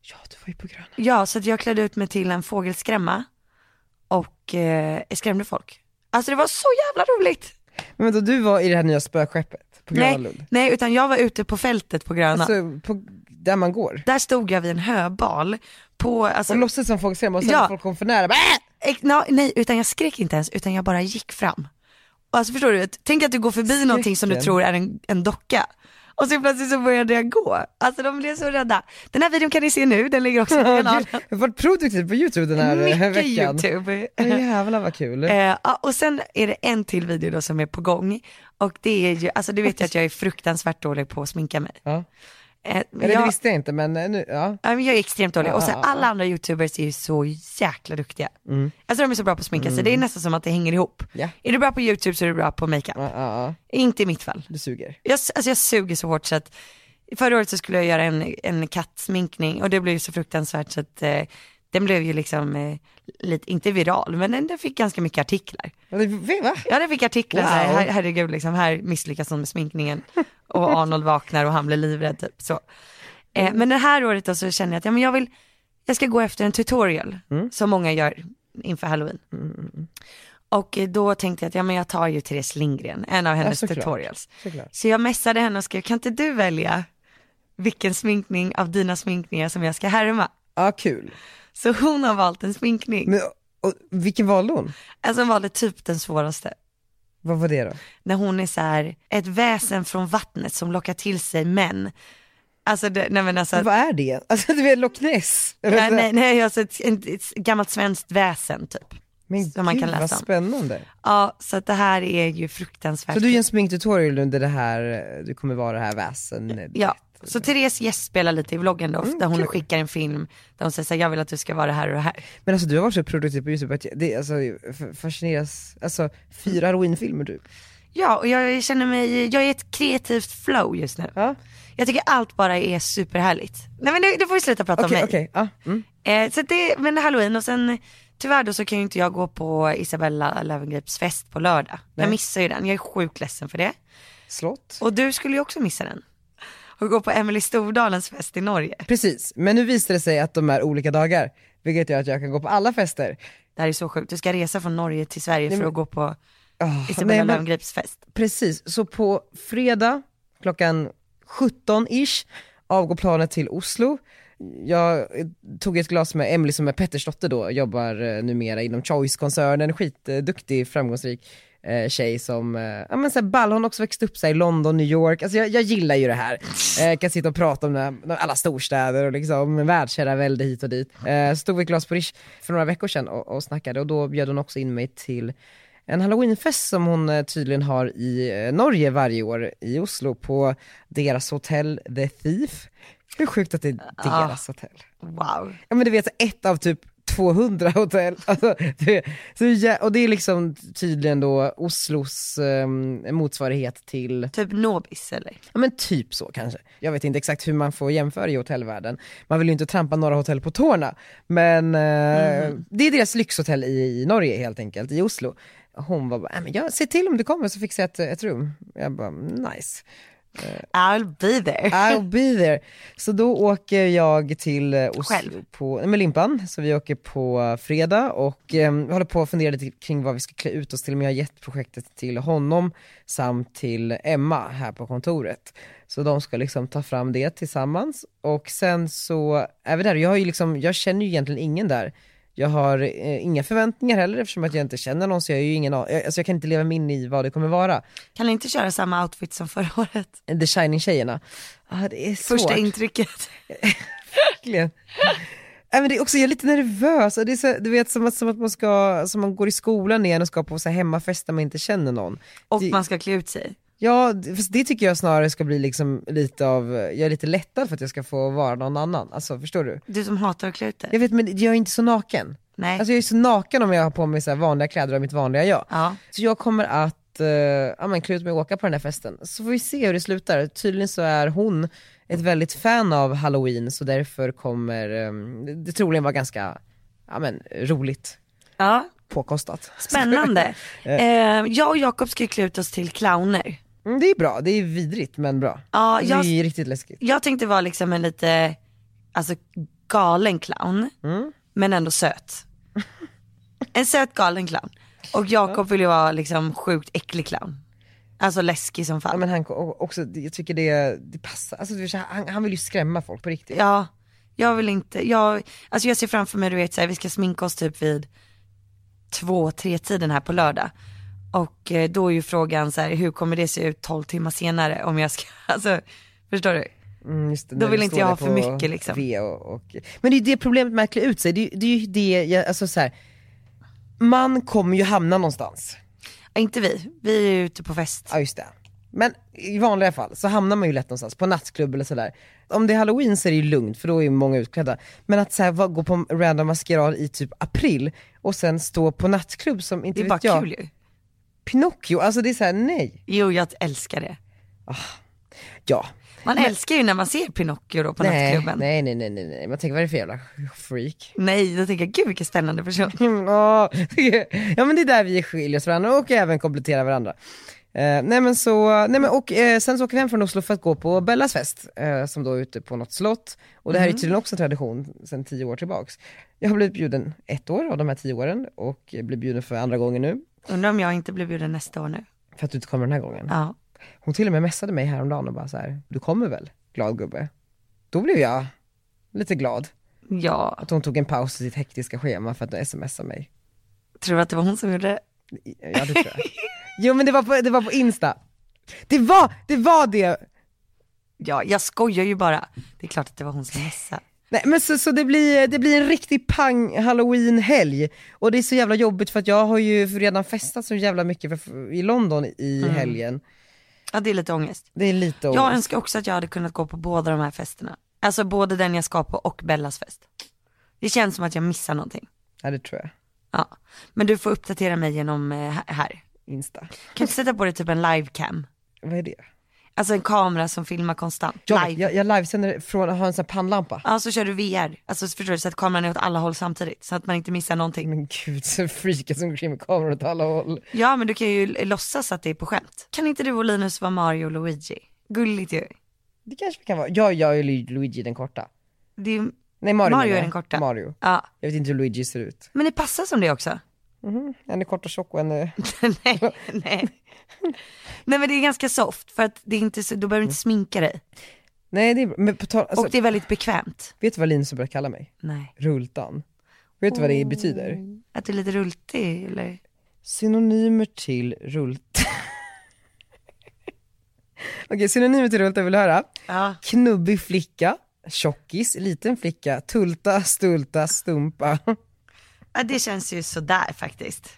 S1: Ja, du var ju på Gröna.
S2: Ja, så att jag klädde ut mig till en fågelskrämma och eh, skrämde folk. Alltså det var så jävla roligt.
S1: Men då du var i det här nya spökskeppet på Gröna Lund?
S2: Nej, nej, utan jag var ute på fältet på Gröna.
S1: Alltså, på, där man går?
S2: Där stod jag vid en höbal på, alltså,
S1: Och låtsas som folk skrämmer och sen
S2: Ja.
S1: när folk kom för nära, bara, "Äh!"
S2: Ex- nå- nej, utan jag skrek inte ens, utan jag bara gick fram. Och Alltså förstår du, att- tänk att du går förbi någonting som du
S1: Skräcken.
S2: tror är en, en docka. Och så plötsligt så började jag gå. Alltså de blev så rädda. Den här videon kan ni se nu, den ligger också på kanalen.
S1: Gud, Jag har varit produktiv på youtube den här eh,
S2: Mycket
S1: veckan.
S2: YouTube.
S1: Ja, jävlar vad kul.
S2: Eh, ja, och sen är det en till video då som är på gång. Och det är ju, alltså du vet ju att jag är fruktansvärt dålig på att sminka mig.
S1: Ja.
S2: Eh, men
S1: Eller det
S2: jag,
S1: visste jag inte men eh, nu, ja.
S2: Ja, men jag är extremt dålig. Och sen
S1: Ja. Mm.
S2: alla andra youtubers är ju så jäkla duktiga. Alltså de är så bra på att sminka sig, det är nästan som att det hänger ihop.
S1: Ja.
S2: Är du bra på youtube så är du bra på makeup.
S1: Ja, ja, ja.
S2: Inte i mitt fall.
S1: Du suger.
S2: Jag, alltså jag suger så hårt så att förra året så skulle jag göra en, en kattsminkning och det blev ju så fruktansvärt så att eh, Den blev ju liksom, eh, lite, inte viral, men den, den fick ganska mycket artiklar.
S1: Eller, Va?
S2: Ja den fick artiklar så här,
S1: Wow.
S2: her- herregud liksom, här misslyckas hon med sminkningen. Och Arnold vaknar och han blir livrädd typ så. Eh, men det här året då så känner jag att ja, men jag vill, jag ska gå efter en tutorial
S1: Mm.
S2: som många gör inför halloween. Och eh, då tänkte jag att ja, men jag tar ju Therese Lindgren, en av hennes
S1: såklart.
S2: tutorials.
S1: Såklart.
S2: Så jag messade henne och skrev, kan inte du välja vilken sminkning av dina sminkningar som jag ska härma?
S1: Ja, kul.
S2: Så hon har valt en sminkning.
S1: Men, och, vilken valde hon?
S2: Alltså hon valde typ den svåraste.
S1: Vad var det då?
S2: när hon är så här, ett väsen från vattnet som lockar till sig män. Alltså, det, nej men alltså,
S1: Vad är det? Alltså du vet Loch Ness? Eller
S2: nej,
S1: så-
S2: nej, nej, alltså ett, ett, ett gammalt svenskt väsen typ.
S1: Men
S2: som man
S1: gud,
S2: kan läsa
S1: vad
S2: om.
S1: spännande.
S2: Ja, så att det här är ju fruktansvärt.
S1: Så du gör en sminktutorial under det här, eh, du kommer vara det här väsen.
S2: Ja, så Therese gästspelar lite i vloggen då,
S1: Mm,
S2: där hon skickar en film där hon säger så här, jag vill att du ska vara det här och det här.
S1: Men alltså du har varit så produktiv på youtube att jag- det, alltså, jag f- fascineras, alltså fyra heroinfilmer typ.
S2: Ja, och jag känner mig, jag är i ett kreativt flow just nu.
S1: Ja.
S2: Jag tycker allt bara är superhärligt. Nej men nu, nu får vi sluta prata om
S1: Okej,
S2: mig.
S1: okej, ja. Mm.
S2: Eh, så att det, men halloween och sen tyvärr då så kan ju inte jag gå på Isabella Lövengrips fest på lördag. Jag missar ju den, jag är sjukt ledsen för det.
S1: Slott.
S2: Och du skulle ju också missa den. Och gå på Emily Stordalens fest i Norge.
S1: Precis, men nu visar det sig att de är olika dagar, vilket gör att jag kan gå på alla fester.
S2: Det här är så sjukt, du ska resa från Norge till Sverige för
S1: men-
S2: att gå på
S1: Ah, nej,
S2: Isabella
S1: men-
S2: Lövengrips fest.
S1: Precis, så på fredag klockan 17-ish avgår planet till Oslo. Jag eh, tog ett glas med Emily som är Petters dotter då, jobbar eh, numera inom Choice-koncernen, skitduktig, framgångsrik eh, tjej som, eh, ja men såhär ball, hon har också växt upp så här, i London, New York, alltså jag, jag gillar ju det här. Eh, kan sitta och prata om det här, alla storstäder och liksom världsherravälde hit och dit. Eh, stod vi ett glas på Rish för några veckor sedan och, och snackade och då bjöd hon också in mig till en halloweenfest som hon eh, tydligen har i eh, Norge varje år, i Oslo, på deras hotell The Thief. Hur sjukt att det är deras hotell.
S2: Wow.
S1: Ja men du vet, så ett av typ 200 hotell. Alltså, det, så, jä- och det är liksom tydligen då Oslos eh, motsvarighet till
S2: Typ Nobis eller?
S1: Ja men typ så kanske. Jag vet inte exakt hur man får jämföra i hotellvärlden. Man vill ju inte trampa några hotell på tårna. Men eh, det är deras lyxhotell i, i Norge helt enkelt, i Oslo. Hon var bara, "Nej, men jag, se till om du kommer så fixar jag ett, ett rum. Jag bara, "Mm, nice.
S2: I'll be there.
S1: I'll be there. Så då åker jag till eh, Oslo
S2: Själv?
S1: på, nej, med Limpan, så vi åker på eh, fredag och eh, vi håller på att fundera lite kring vad vi ska klä ut oss till, men jag har gett projektet till honom samt till Emma här på kontoret. Så de ska liksom ta fram det tillsammans och sen så är vi där, jag, har ju liksom, jag känner ju egentligen ingen där. Jag har eh, inga förväntningar heller eftersom att jag inte känner någon så jag, har ju ingen, a- jag, alltså jag kan inte leva mig in i vad det kommer vara.
S2: Kan ni inte köra samma outfit som förra året?
S1: The Shining-tjejerna, ah, det är svårt.
S2: Första intrycket.
S1: Verkligen. Nej, men det är också, jag är lite nervös, Och det är så, du vet som att, som att man, ska, som man går i skolan igen och ska på så här hemmafest där man inte känner någon.
S2: Och
S1: Det-
S2: man ska klä ut sig.
S1: Ja, det- fast det tycker jag snarare ska bli liksom lite av, jag är lite lättad för att jag ska få vara någon annan, alltså förstår du?
S2: Du som hatar att klä ut
S1: Jag
S2: dig.
S1: vet men jag är inte så naken.
S2: Nej.
S1: Alltså jag är så naken om jag har på mig så här vanliga kläder och är mitt vanliga jag.
S2: Ja.
S1: Så jag kommer att eh, ja, men klä ut mig och åka på den här festen. Så får vi se hur det slutar. Tydligen så är hon ett väldigt fan av halloween så därför kommer eh, det- det troligen vara ganska ja, men, roligt
S2: ja.
S1: påkostat.
S2: Spännande. eh, jag och Jakob ska ju klä ut oss till clowner.
S1: Mm, det är bra, det är vidrigt men bra.
S2: Ja,
S1: det
S2: jag-
S1: är ju riktigt läskigt.
S2: Jag tänkte vara liksom en lite, alltså galen clown, men ändå söt. En söt galen clown. Och Jakob vill ju vara liksom sjukt äcklig clown. Alltså läskig som
S1: Ja,
S2: fan.
S1: men han ko- och- också, det- jag tycker det, det passar, alltså, du vet, så här, han, han vill ju skrämma folk på riktigt.
S2: Ja, jag vill inte, jag, alltså jag ser framför mig du vet så här, vi ska sminka oss typ vid två, tre tiden här på lördag. Och eh, då är ju frågan så här, hur kommer det se ut 12 timmar senare om jag ska, alltså förstår du?
S1: Mm, just det,
S2: Då
S1: när
S2: vill
S1: du
S2: inte
S1: står
S2: jag
S1: där
S2: ha för
S1: på
S2: mycket, liksom.
S1: V Och, och, men det är ju det problemet med att klä ut sig, det, är ju- det är ju det, jag, alltså så här, man kommer ju hamna någonstans.
S2: Ja, Inte vi, vi är ju ute på fest.
S1: Ja just det. Men i vanliga fall så hamnar man ju lätt någonstans, på nattklubb eller sådär. Om det är halloween så är det ju lugnt för då är ju många utklädda. Men att så här, va- gå på en random maskerad i typ april och sen stå på nattklubb som inte
S2: Det är
S1: vet
S2: bara
S1: jag,
S2: kul ju.
S1: Pinocchio, alltså det är såhär nej.
S2: Jo, jag älskar det.
S1: Ja.
S2: Man älskar ju när man ser Pinocchio då på
S1: Nej,
S2: nattklubben. Nej.
S1: nej, nej, nej, nej, nej. Man tänker vad är det för jävla freak?
S2: nej, då tänker jag gud vilken spännande person.
S1: Mm, åh. ja men det är där vi skiljer oss varandra och även kompletterar varandra. Eh, nej men så, nej men och eh, sen så åker vi hem från Oslo för att gå på Bellas fest, eh, som då är ute på något slott. Och det här är tydligen också en tradition sedan tio år tillbaks. Jag har blivit bjuden ett år av de här tio åren och blir bjuden för andra gången nu.
S2: Undrar om jag inte blir bjuden nästa år nu.
S1: För att du inte kommer den här gången.
S2: Ja.
S1: Hon till och med messade mig häromdagen och bara så här, du kommer väl, glad gubbe? Då blev jag lite glad
S2: Ja,
S1: att hon tog en paus i sitt hektiska schema för att smsa mig.
S2: tror du att det var hon som gjorde det?
S1: Ja det tror jag. Jo men det var på, det var på Insta. Det var, det var det!
S2: Ja, jag skojar ju bara. Det är klart att det var hon som messade.
S1: Nej men så, så det, blir, det blir en riktig pang halloween-helg. Och det är så jävla jobbigt för att jag har ju redan festat så jävla mycket för, i London i
S2: Mm.
S1: helgen.
S2: Ja, det är lite ångest.
S1: Det är lite
S2: Jag
S1: ångest.
S2: önskar också att jag hade kunnat gå på båda de här festerna. Alltså både den jag ska på och Bellas fest. Det känns som att jag missar någonting.
S1: Ja det tror jag.
S2: Ja. Men du får uppdatera mig genom eh, här- här.
S1: Insta.
S2: Kan du inte sätta på dig typ en livecam?
S1: Vad är det?
S2: Alltså en kamera som filmar konstant.
S1: Jag,
S2: Live.
S1: jag, jag livesänder från att ha en sån här pannlampa.
S2: Ja, så kör du VR. Alltså förstår du, så att kameran är åt alla håll samtidigt. Så att man inte missar någonting.
S1: Men gud, så freakas omkring med kameror åt alla håll.
S2: Ja, men du kan ju l- låtsas att det är på skämt. Kan inte du och Linus vara Mario och Luigi? Gulligt ju.
S1: Det kanske vi kan vara. Jag, jag är Lu- Luigi den korta.
S2: Det är,
S1: Nej Mario
S2: Mario
S1: menar
S2: är
S1: jag.
S2: den korta.
S1: Mario.
S2: ja.
S1: Jag vet inte hur Luigi ser ut.
S2: Men ni passar som det också.
S1: En är kort och tjock och en är...
S2: nej, nej. nej men det är ganska soft för att det är inte så, då behöver du inte sminka dig.
S1: Nej det är bra. Men på tal, alltså,
S2: och det är väldigt bekvämt.
S1: vet du vad Linus brukar kalla mig?
S2: Nej.
S1: Rultan. Vet du vad det betyder?
S2: Att du är lite rultig eller?
S1: Synonymer till rult... Okej, synonymer till rulta vill du höra?
S2: Ja.
S1: Knubbig flicka, tjockis, liten flicka, tulta, stulta, stumpa.
S2: ja, det känns ju sådär faktiskt.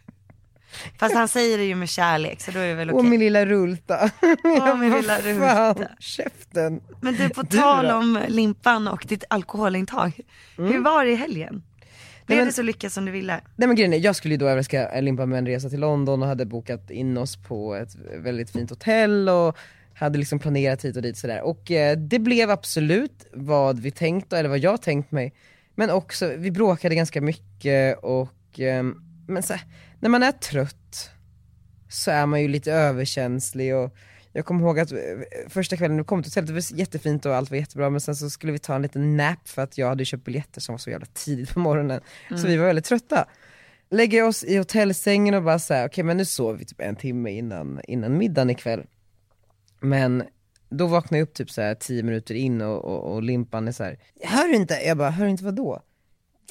S2: Fast han säger det ju med kärlek så då är det väl
S1: Åh
S2: okej.
S1: min lilla rulta.
S2: Åh, min lilla
S1: Vad
S2: rulta.
S1: fan, käften.
S2: Men du, på
S1: Du
S2: tal
S1: då?
S2: om limpan och ditt alkoholintag. Hur var det i helgen? Blev
S1: men-
S2: det så lyckat Mm. som du ville?
S1: Nej men grejen är, jag skulle ju då överraska Limpa med en resa till London och hade bokat in oss på ett väldigt fint hotell och hade liksom planerat hit och dit sådär. Och eh, det blev absolut vad vi tänkt, eller vad jag tänkt mig. Men också, vi bråkade ganska mycket och, ehm, men så, här, när man är trött så är man ju lite överkänslig och jag kommer ihåg att eh, första kvällen vi kom till hotellet, det var jättefint och allt var jättebra men sen så skulle vi ta en liten nap för att jag hade köpt biljetter som var så jävla tidigt på morgonen. Så vi var väldigt trötta. Lägger oss i hotellsängen och bara säger okej men nu sover vi typ en timme innan, innan middagen ikväll. Men då vaknar jag upp typ så här tio minuter in och, och, och limpan är så här. hör du inte? Jag bara, hör du inte vad då?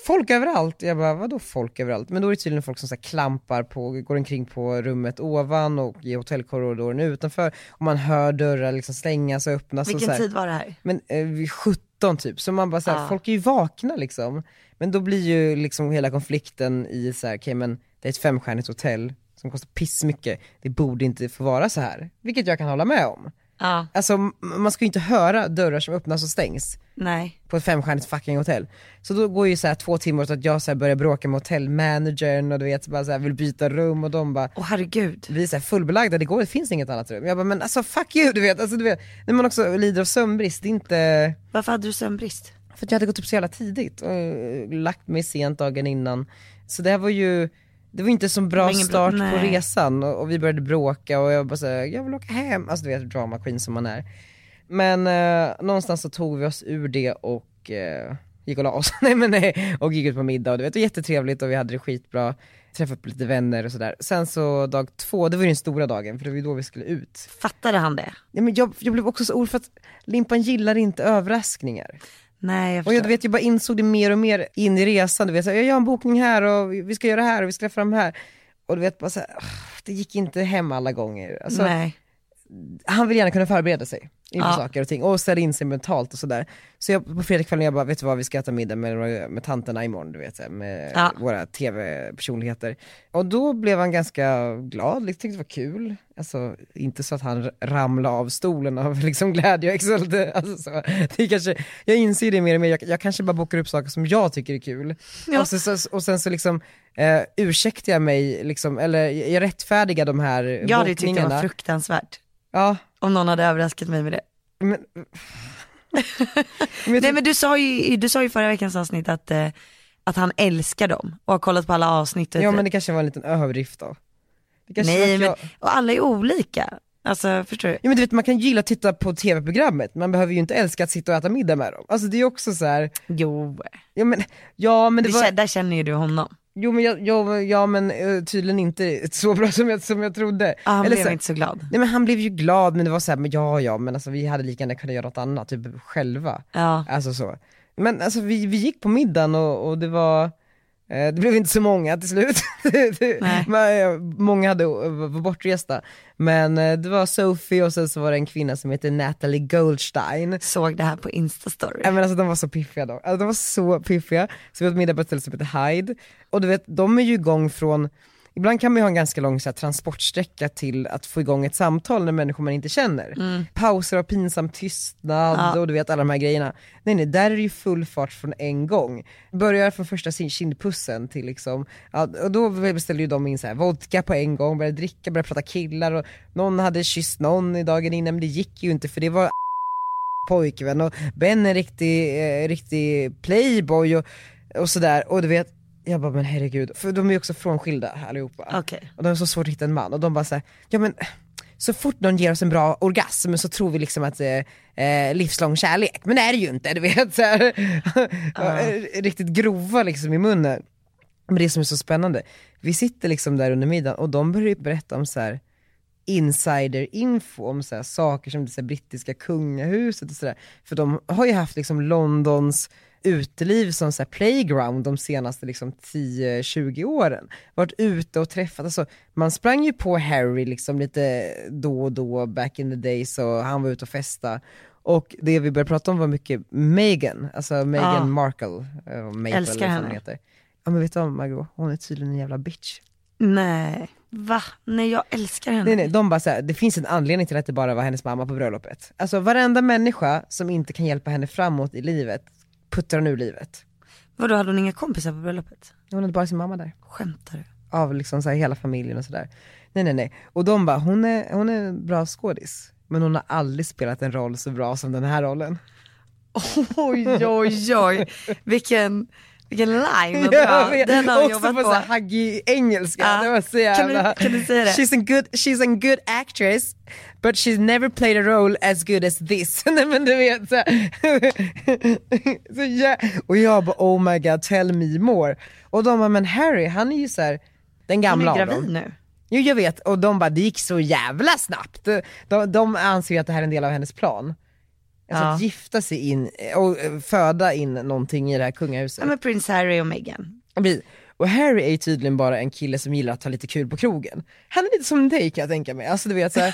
S1: Folk överallt, jag bara vadå folk överallt? Men då är det tydligen folk som så här klampar på, går omkring på rummet ovan och i hotellkorridoren utanför och man hör dörrar liksom slängas och öppnas och så
S2: Vilken
S1: här.
S2: tid var det här?
S1: Men eh, vid 17 typ, så man bara såhär,
S2: Ah.
S1: folk är ju vakna liksom. Men då blir ju liksom hela konflikten i såhär, okej men det är ett femstjärnigt hotell som kostar pissmycket, det borde inte få vara så här. Vilket jag kan hålla med om.
S2: Ja,
S1: Alltså m- man ska ju inte höra dörrar som öppnas och stängs
S2: nej.
S1: på ett femstjärnigt fucking hotell. Så då går ju så här två timmar åt att jag så här börjar bråka med hotellmanagern och du vet, bara så här vill byta rum och de bara
S2: Åh herregud.
S1: vi är så här fullbelagda, det, går, det finns inget annat rum. Jag bara, men alltså fuck you, du vet. Alltså, du vet när man också lider av sömnbrist, det är inte,
S2: Varför hade du sömnbrist?
S1: för att jag hade gått upp så jävla tidigt och eh, lagt mig sent dagen innan. Så det här var ju, det var inte så
S2: Det
S1: bra
S2: var ingen bra-
S1: start på
S2: nej.
S1: resan och, och vi började bråka och jag bara såhär, jag vill åka hem. Alltså du vet drama queen som man är. Men eh, någonstans så tog vi oss ur det och eh, gick och la oss. nej men nej. Och gick ut på middag och du vet, det var jättetrevligt och vi hade det skitbra. Träffade upp lite vänner och sådär. Sen så dag två, det var ju den stora dagen för det var ju då vi skulle ut.
S2: Fattade han det?
S1: Nej, men jag, jag blev också så orolig för att Limpan gillar inte överraskningar.
S2: Nej, jag
S1: Och
S2: förstår.
S1: jag, du vet, jag bara insåg det mer och mer in i resan, du vet, så här, jag gör en bokning här och vi ska göra det här och vi ska träffa dem här. Och du vet, bara så här, "Åh, det gick inte hem alla gånger. Alltså,
S2: Nej.
S1: han vill gärna kunna förbereda sig inför
S2: Ja.
S1: saker och ting och ställa in sig mentalt och sådär. Så jag, på fredagskvällen jag bara, vet du vad vi ska äta middag med, med tanterna imorgon, du vet, så här, med
S2: Ja.
S1: våra tv-personligheter. Och då blev han ganska glad, liksom, tyckte det var kul. Alltså inte så att han ramlade av stolen av liksom glädje och exult. Alltså, så, det är kanske, jag inser det mer och mer, jag, jag kanske bara bokar upp saker som jag tycker är kul. Och, sen, så, och sen så liksom eh, ursäktar jag mig, liksom, eller jag rättfärdigar de här
S2: Jag hade ju tyckt det
S1: bokningarna.
S2: var fruktansvärt
S1: ja,
S2: om någon hade överraskat mig med det.
S1: Men, men typ- jag
S2: Nej
S1: tror-
S2: men du sa ju, du sa ju i förra veckans avsnitt att, eh, att han älskar dem och har kollat på alla avsnitt. Och typ
S1: Ja men det kanske var en liten överdrift då. Det kanske var
S2: Nej
S1: att
S2: men,
S1: jag-
S2: och alla är olika. Alltså förstår du?
S1: Ja men du vet man kan gilla att titta på tv-programmet, man behöver ju inte älska att sitta och äta middag med dem. Alltså det är ju också så här.
S2: Jo,
S1: ja men, ja men det
S2: det
S1: var,
S2: kä- där känner ju du honom.
S1: jo men, jag, jag, ja, men eh, tydligen inte så bra som jag, som jag trodde.
S2: Ah, han
S1: Eller
S2: blev
S1: så,
S2: inte så glad.
S1: Nej men han blev ju glad men det var så här, men ja ja men alltså vi hade lika gärna kunnat göra något annat, typ själva.
S2: Ja.
S1: Alltså så. Men alltså vi, vi gick på middagen och, och det var, eh, det blev inte så många till slut. Det-
S2: Nej.
S1: men, eh, många hade, var bortresta. Men eh, det var Sophie och sen så var det en kvinna som heter Natalie Goldstein.
S2: Såg det här på instastory.
S1: Nej men alltså de var så piffiga då. Alltså, de var så piffiga. Så vi åt middag på ett ställe som heter Hyde. Och du vet, de är ju igång från, ibland kan man ju ha en ganska lång så här, transportsträcka till att få igång ett samtal när människor man inte känner. Pauser av pinsam tystnad
S2: Ja.
S1: och du vet alla de här grejerna. Nej nej, där är det ju full fart från en gång. Börjar från första sin- kindpussen till liksom, ja, och då beställde ju de in så här, vodka på en gång, började dricka, började prata killar och någon hade kysst någon i dagen innan men det gick ju inte för det var pojkvän och Ben är en riktig, eh, riktig playboy och, och sådär och du vet, jag bara men herregud, för de är ju också frånskilda allihopa
S2: Okej.
S1: och de har så svårt att hitta en man och de bara såhär, ja men så fort någon ger oss en bra orgasm så tror vi liksom att eh, eh, livslång kärlek, men det är det ju inte, du vet såhär, eh, riktigt grova liksom i munnen. Men det som är så spännande, vi sitter liksom där under middagen och de börjar ju berätta om så här insider-info om så här saker som det så här brittiska kungahuset och sådär. För de har ju haft liksom Londons uteliv som så här playground de senaste liksom 10-20 åren. Varit ute och träffat, alltså, man sprang ju på Harry liksom lite då och då back in the days och han var ute och festa. Och det vi började prata om var mycket Meghan, alltså Meghan
S2: Ja.
S1: Markle, eh, Maple,
S2: Älskar
S1: eller vad fan
S2: henne.
S1: heter. Ja men vet du vad Margot, hon är tydligen en jävla bitch.
S2: Nej. Va? Nej jag älskar henne.
S1: Nej nej, de bara såhär, det finns en anledning till att det bara var hennes mamma på bröllopet. Alltså varenda människa som inte kan hjälpa henne framåt i livet, puttar hon ur livet.
S2: Vadå hade hon inga kompisar på bröllopet?
S1: Hon hade bara sin mamma där.
S2: Skämtar du?
S1: Av liksom så här hela familjen och sådär. Nej nej nej. Och de bara, hon är, hon är en bra skådis. Men hon har aldrig spelat en roll så bra som den här rollen.
S2: Oj oj oj. Vilken, vilken line. vad
S1: Ja,
S2: bra.
S1: men-
S2: Den har hon
S1: också
S2: jobbat
S1: på, så här
S2: på.
S1: haggig engelska,
S2: Ja.
S1: det var så
S2: Kan
S1: jävla...
S2: du- kan du säga det?
S1: She's a, good, she's a good actress but she's never played a role as good as this. Nej men du vet så, här. så jag, Och jag bara oh my god tell me more. Och de bara men Harry han är ju så här den
S2: Hon
S1: gamla
S2: är
S1: av dem.
S2: gravid nu.
S1: Jo jag vet, och de bara det gick så jävla snabbt. De, de anser ju att det här är en del av hennes plan. Alltså
S2: Ja.
S1: att gifta sig in eh, och eh, föda in någonting i det här kungahuset.
S2: Ja men prins Harry och Meghan.
S1: Vi- Och Harry är ju tydligen bara en kille som gillar att ha lite kul på krogen. Han är lite som dig kan jag tänka mig. Alltså du vet så här,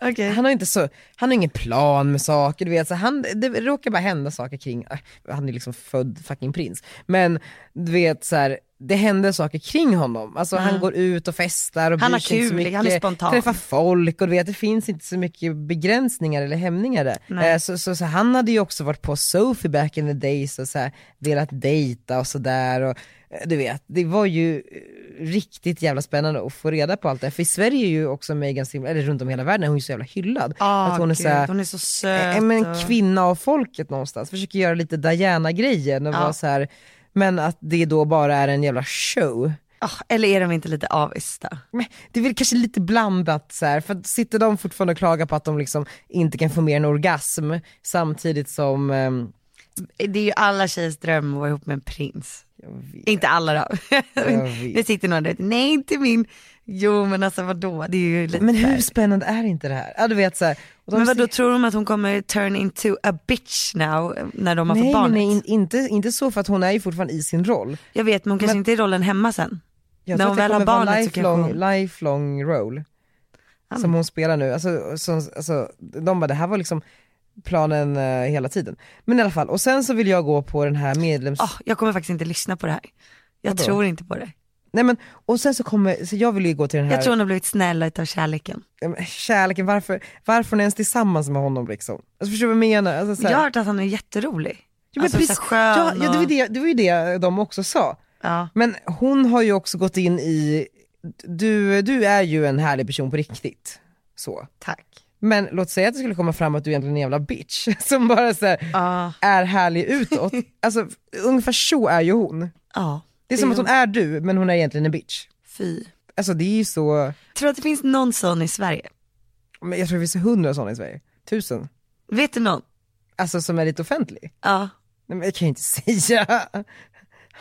S2: Okej.
S1: han har inte så, han har ingen plan med saker, du vet så här, han, det råkar bara hända saker kring, äh, han är liksom född fucking prins. Men du vet så här, det händer saker kring honom. Alltså han går ut och festar och
S2: Mm. Han
S1: bryr
S2: har
S1: sig inte så
S2: kul,
S1: mycket,
S2: han är spontan.
S1: träffar folk och du vet det finns inte så mycket begränsningar eller hämningar där.
S2: Nej.
S1: Eh, Så, så, så han hade ju också varit på Sophie back in the days och så här, velat dejta och sådär och eh, du vet, det var ju eh, riktigt jävla spännande att få reda på allt det här. För i Sverige är ju också Meghan så himla, eller runt om i hela världen, är hon är ju så jävla hyllad.
S2: Ah,
S1: att hon är
S2: gud,
S1: så här,
S2: hon är så söt.
S1: eh, men
S2: och-
S1: en kvinna av folket någonstans, försöker göra lite Diana-grejen och
S2: Ja.
S1: vara så här, men att det då bara är en jävla show.
S2: Ah, eller är de inte lite avista?
S1: Men det är väl kanske lite blandat så här, för att sitter de fortfarande och klagar på att de liksom inte kan få mer än orgasm samtidigt som, ehm,
S2: Det är ju alla tjejers dröm att vara ihop med en prins.
S1: jag vet,
S2: Inte alla då.
S1: jag
S2: Nu
S1: vet.
S2: sitter någon där ute, nej inte min. Jo men alltså vadå, det är ju lite
S1: Men
S2: så här.
S1: hur spännande är inte det här? Ja du vet så här, och de
S2: Men vadå,
S1: ser-
S2: tror de att hon kommer turn into a bitch now eh, när de har
S1: nej, nej,
S2: fått barnet?
S1: nej in, inte, inte så för att hon är ju fortfarande i sin roll.
S2: Jag vet men hon kanske
S1: Men-
S2: inte är i rollen hemma sen.
S1: Jag
S2: När
S1: tror
S2: hon
S1: att det
S2: väl har
S1: kommer vara en
S2: barnet så kanske
S1: lifelong,
S2: hon-
S1: lifelong roll som hon spelar nu. Alltså, som, alltså, de bara, det här var liksom planen eh, hela tiden. Men i alla fall, och sen så vill jag gå på den här medlems...
S2: Ah, jag kommer faktiskt inte lyssna på det här. Jag
S1: Vadå?
S2: tror inte på det.
S1: Nej men, och sen så kommer, så jag vill ju gå till den här...
S2: Jag tror hon har blivit snäll utav kärleken.
S1: Ja, men kärleken, varför, varför hon är ens tillsammans med honom liksom? Alltså förstår du vad jag menar? Alltså, så här-
S2: Jag har hört att han är jätterolig.
S1: Ja, men
S2: alltså,
S1: precis.
S2: så här skön
S1: ja, ja, det, var ju
S2: och-
S1: det, det var ju det de också sa.
S2: Ja.
S1: Men hon har ju också gått in i, du, du är ju en härlig person på riktigt. Så.
S2: Tack.
S1: Men låt säga att det skulle komma fram att du egentligen är en jävla bitch som bara så här,
S2: Ja.
S1: är härlig utåt. Alltså ungefär så är ju hon.
S2: Ja.
S1: Det är som att hon är du, men hon är egentligen en bitch.
S2: Fy.
S1: Alltså det är ju så,
S2: Tror du att det finns någon sån i Sverige?
S1: men jag tror det finns hundra sådana i Sverige. Tusen.
S2: Vet du någon?
S1: Alltså som är lite offentlig.
S2: Ja.
S1: Nej men det kan jag inte säga.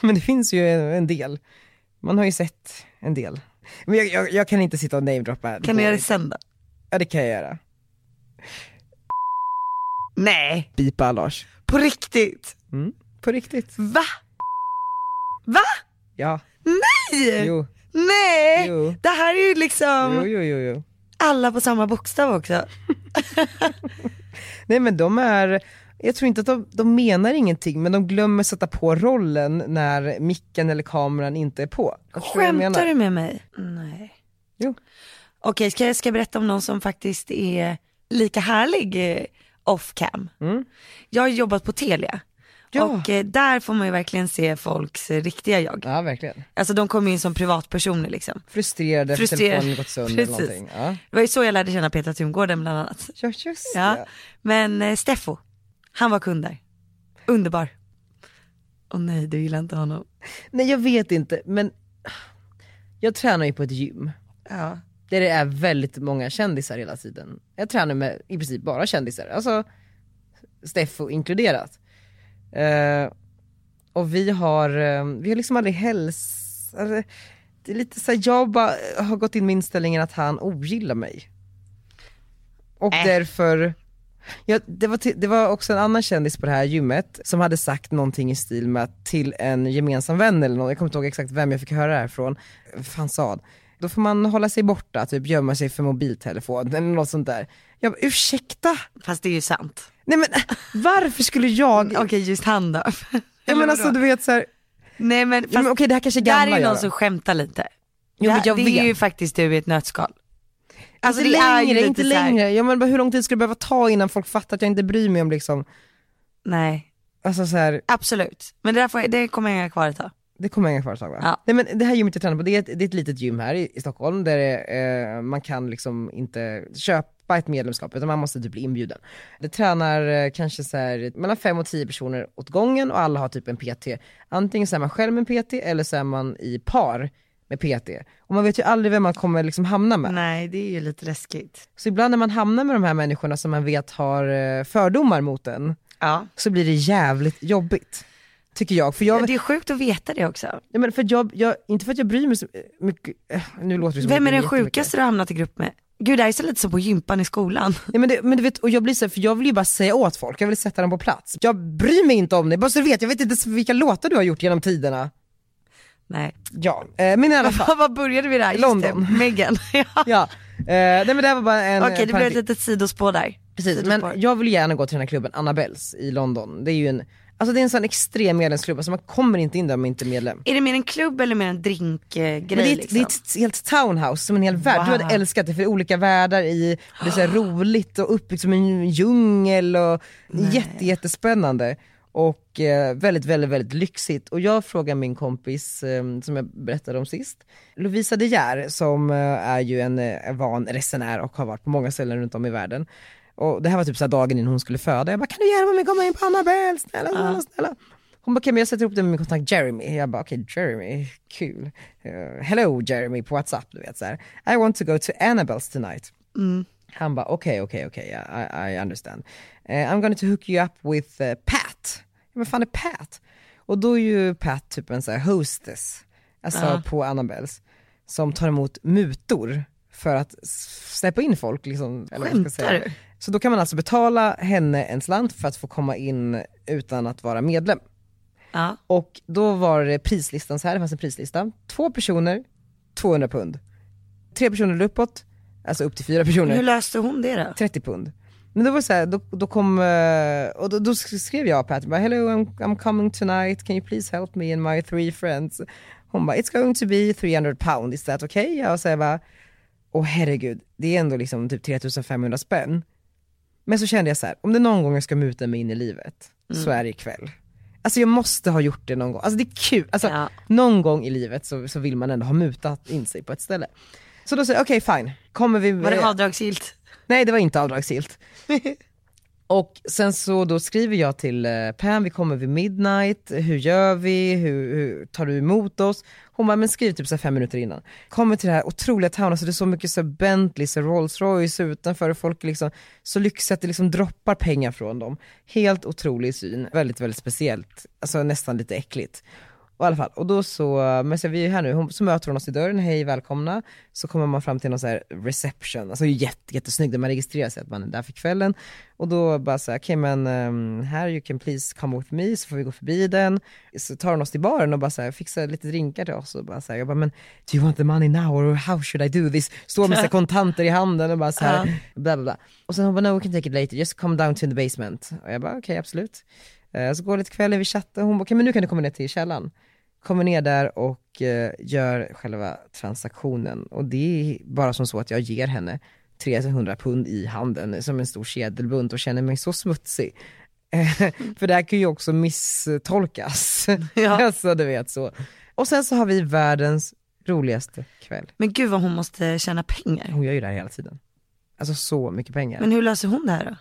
S1: Men det finns ju en, en del. Man har ju sett en del. Men jag, jag, jag kan inte sitta och namedroppa. här.
S2: Kan du
S1: går
S2: göra det
S1: inte.
S2: sen då?
S1: Ja det kan jag göra.
S2: Nej,
S1: Bipa Lars.
S2: på riktigt.
S1: På riktigt.
S2: Va? Va?
S1: Ja.
S2: Nej!
S1: Jo.
S2: Nej!
S1: Jo.
S2: Det här är ju liksom
S1: Jo, jo, jo, jo.
S2: alla på samma bokstav också.
S1: Nej men de är, jag tror inte att de, de menar ingenting men de glömmer sätta på rollen när micken eller kameran inte är på. Jag tror jag menar.
S2: Skämtar du med mig? Nej.
S1: Jo.
S2: Okej, ska jag ska jag berätta om någon som faktiskt är lika härlig eh, off cam? Jag har jobbat på Telia
S1: Mm. Ja.
S2: och eh, där får man ju verkligen se folks eh, riktiga jag.
S1: Ja verkligen.
S2: Alltså de kommer in som privatpersoner liksom.
S1: Frustrerade efter
S2: Frustrerad.
S1: telefonen gått sönder eller
S2: Precis.
S1: någonting. Ja.
S2: Det var ju så jag lärde känna Petra Tungården bland annat.
S1: Ja just
S2: Ja.
S1: det.
S2: Men eh, Steffo, han var kund där. Underbar. Åh nej, du gillar inte honom.
S1: Nej jag vet inte men jag tränar ju på ett gym
S2: Ja.
S1: där det är väldigt många kändisar hela tiden. Jag tränar med i princip bara kändisar, alltså Steffo inkluderat. Eh, och vi har, eh, vi har liksom aldrig häls... Alltså, det är lite så här, jag bara har gått in med inställningen att han ogillar mig. Och
S2: Äh.
S1: därför, ja, det, var till, det var också en annan kändis på det här gymmet som hade sagt någonting i stil med att till en gemensam vän eller någon, jag kommer inte ihåg exakt vem jag fick höra det här från, Vad fan sa han? Då får man hålla sig borta, typ gömma sig för mobiltelefon eller något sånt där. Jag bara, ursäkta?
S2: Fast det är ju sant.
S1: Nej men varför skulle jag?
S2: Okej, just han då.
S1: Ja
S2: Mm, Eller
S1: men alltså
S2: vadå?
S1: du vet såhär,
S2: Nej men, fast
S1: ja, men okej det här kanske är
S2: där
S1: gamla
S2: är ju
S1: jag
S2: någon
S1: då.
S2: som skämtar lite.
S1: Jo, men
S2: Det-
S1: jag
S2: det
S1: vet.
S2: är ju faktiskt du i ett nötskal. Alltså
S1: inte
S2: det är ju
S1: längre,
S2: lite
S1: inte
S2: så här-
S1: längre. Ja, men bara, hur lång tid skulle det behöva ta innan folk fattar att jag inte bryr mig om liksom,
S2: Nej,
S1: alltså så här,
S2: absolut. Men det, där får jag, det kommer jag hänga kvar ett tag.
S1: det kommer inga företag va?
S2: Ja.
S1: Nej men det här gymmet jag tränar på, det är ett, det är ett litet gym här i, i Stockholm där det, eh, man kan liksom inte köpa ett medlemskap utan man måste typ bli inbjuden. Det tränar eh, kanske så här, mellan fem och tio personer åt gången och alla har typ en PT. Antingen så är man själv med en PT eller så är man i par med PT. Och man vet ju aldrig vem man kommer liksom hamna med.
S2: Nej, det är ju lite läskigt.
S1: Så ibland när man hamnar med de här människorna som man vet har eh, fördomar mot en,
S2: Ja.
S1: så blir det jävligt jobbigt. Tycker jag. För jag,
S2: Det är sjukt att veta det också.
S1: Nej, men för att jag, jag, inte för att jag bryr mig så mycket, eh, nu låter det som att jag
S2: Vem
S1: bryr mig
S2: är den
S1: jättemycket.
S2: sjukaste du har hamnat i grupp med? Gud, det här är så lite som på gympan i skolan.
S1: Nej, men, det, men du vet, och jag blir så här, för jag vill ju bara säga åt folk, jag vill sätta dem på plats. Jag bryr mig inte om det, bara så du vet, jag vet inte ens vilka låtar du har gjort genom tiderna.
S2: Nej.
S1: Ja, eh, men i alla fall.
S2: Vad började vi där? Just
S1: London.
S2: det, Megan. ja.
S1: Ja. Eh, nej men det här var bara en eh,
S2: Okej, det blev ett
S1: parentes.
S2: litet sidospår där.
S1: Precis, men
S2: Sidospår.
S1: jag vill gärna gå till den här klubben Annabels i London. Det är ju en, alltså det är en sån extrem medlemsklubb, alltså man kommer inte in där om man inte är medlem.
S2: Är det mer en klubb eller mer en drinkgrej?
S1: Men det, är ett,
S2: liksom?
S1: det är ett helt townhouse som en hel värld. Du
S2: Wow.
S1: hade älskat det för det är olika världar i, och det är så här roligt och uppbyggt som en djungel och jätte, jättespännande. Och eh, väldigt, väldigt, väldigt lyxigt. Och jag frågar min kompis, eh, som jag berättade om sist, Lovisa De Geer, som eh, är ju en eh, van resenär och har varit på många ställen runt om i världen. Och det här var typ så här dagen innan hon skulle föda. Jag bara, kan du hjälpa mig komma in på Annabelle? Snälla, snälla, snälla. Hon bara, okej men jag sätter ihop det med min kontakt Jeremy. Jag bara, okej Jeremy, kul. Eh, hello Jeremy på WhatsApp, du vet så här. I want to go to Annabelle's tonight.
S2: Mm.
S1: Han bara, okej, okej, okej, I, I understand. Eh, I'm going to hook you up with eh, Pat. Men fan är Pat? Och då är ju Pat typ en så här hostess, alltså på Annabels, som tar emot mutor för att s- släppa in folk. Liksom, eller vad jag ska
S2: Skämtar
S1: säga.
S2: du?
S1: Så då kan man alltså betala henne en slant för att få komma in utan att vara medlem.
S2: Ja.
S1: Och då var det prislistan så här, det fanns en prislista. Två personer, 200 pund. Tre personer uppåt, alltså upp till fyra personer.
S2: Hur löste hon det då?
S1: 30 pund. Men då var det så här, då, då kom, eh, och då, då skrev jag på Pat, bara, hello I'm, I'm coming tonight, can you please help me and my three friends? Hon bara, it's going to be 300 pound, is that okay? Jag säger bara, åh herregud, det är ändå liksom typ 3500 spänn. Men så kände jag så här, om det någon gång jag ska muta mig in i livet, så är det ikväll. Alltså jag måste ha gjort det någon gång, alltså det är kul, alltså
S2: Ja.
S1: någon gång i livet så, så vill man ändå ha mutat in sig på ett ställe. Så då säger jag, okej fine, kommer vi... eh,
S2: Var det avdragsgillt?
S1: Nej det var inte avdragsgillt. Och sen så då skriver jag till eh, Pam, vi kommer vid midnight, hur gör vi, hur, hur tar du emot oss? Hon bara, men skriv typ så här fem minuter innan. Kommer till det här otroliga town, alltså det är så mycket så här Bentleys och Rolls Royce utanför och folk är liksom så lyxiga att det liksom droppar pengar från dem. Helt otrolig syn, väldigt väldigt speciellt, alltså nästan lite äckligt. Och i alla fall, och då så, men så är vi är här nu, hon, så möter hon oss i dörren, hej välkomna. Så kommer man fram till någon så här reception, alltså jätte, jättesnygg, där man registrerar sig att man är där för kvällen. Och då bara så här, okej men ehm, här you can please come with me, så får vi gå förbi den. Så tar hon oss till baren och bara så här, fixar lite drinkar till oss och bara så här, jag bara men do you want the money now or how should I do this? Står med så här kontanter i handen och bara så här, bla bla bla. Och sen hon bara no we can take it later, just come down to the basement. Och jag bara okej absolut. Eh, Så går det lite kvällen, vi chattar, hon bara okej men nu kan du komma ner till källaren kommer ner där och eh, gör själva transaktionen. Och det är bara som så att jag ger henne 300 pund i handen som en stor kedelbunt och känner mig så smutsig. Eh, För det här kan ju också misstolkas.
S2: Ja.
S1: alltså du vet så. Och sen så har vi världens roligaste kväll.
S2: Men gud vad hon måste tjäna pengar.
S1: Hon gör ju det här hela tiden. Alltså så mycket pengar.
S2: Men hur löser hon det här då?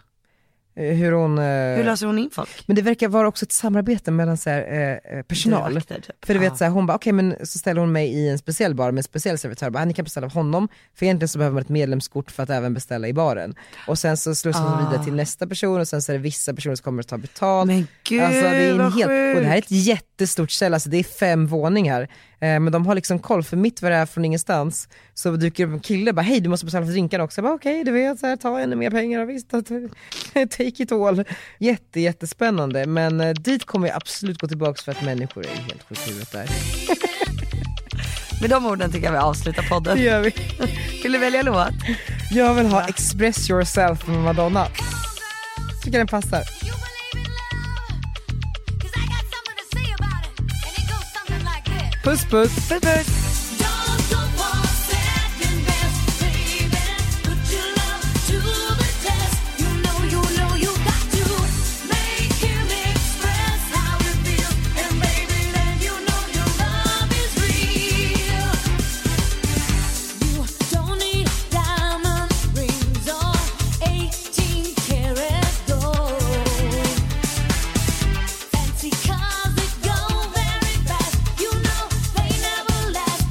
S1: Eh, Hur hon... eh,
S2: Hur löser hon in folk?
S1: Men det verkar vara också ett samarbete mellan så här, eh, eh, personal.
S2: Dörrvakter, typ.
S1: För du vet
S2: Ja.
S1: så här, hon bara okej men så ställer hon mig i en speciell bar med en speciell servitör, bara, ni kan beställa av honom, för egentligen så behöver man ett medlemskort för att även beställa i baren. Och sen så slussas hon vidare till nästa person och sen så är det vissa personer som kommer att ta betalt.
S2: Men gud, vad
S1: Och det här alltså, är
S2: sjukt.
S1: ett jättestort ställe, alltså det är fem våningar. Eh, men de har liksom koll, för mitt var det är från ingenstans så dyker det upp en kille bara hej du måste betala för drinkarna också. Jag bara okej du vet, så här, ta ännu mer pengar, och visst, att- take it all. Jätte, jättespännande, men eh, dit kommer jag absolut gå tillbaka för att människor är helt sjuka i huvudet där.
S2: Med de orden tycker jag vi avslutar podden.
S1: Det gör vi.
S2: Vill du välja låt?
S1: Jag vill ha Express yourself med Madonna. Tycker den passar.
S8: You believe in love? 'Cause I got something to say about it. And it goes something like this.
S1: Puss puss. puss, puss.
S8: Don't go on second best, baby. Put your love to the test. You know, you know, you got to make him express how it feels. And baby, then you know your love is real. You don't need diamond rings or 18 karat gold. Fancy cars that go very fast. You know they never last.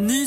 S1: Ny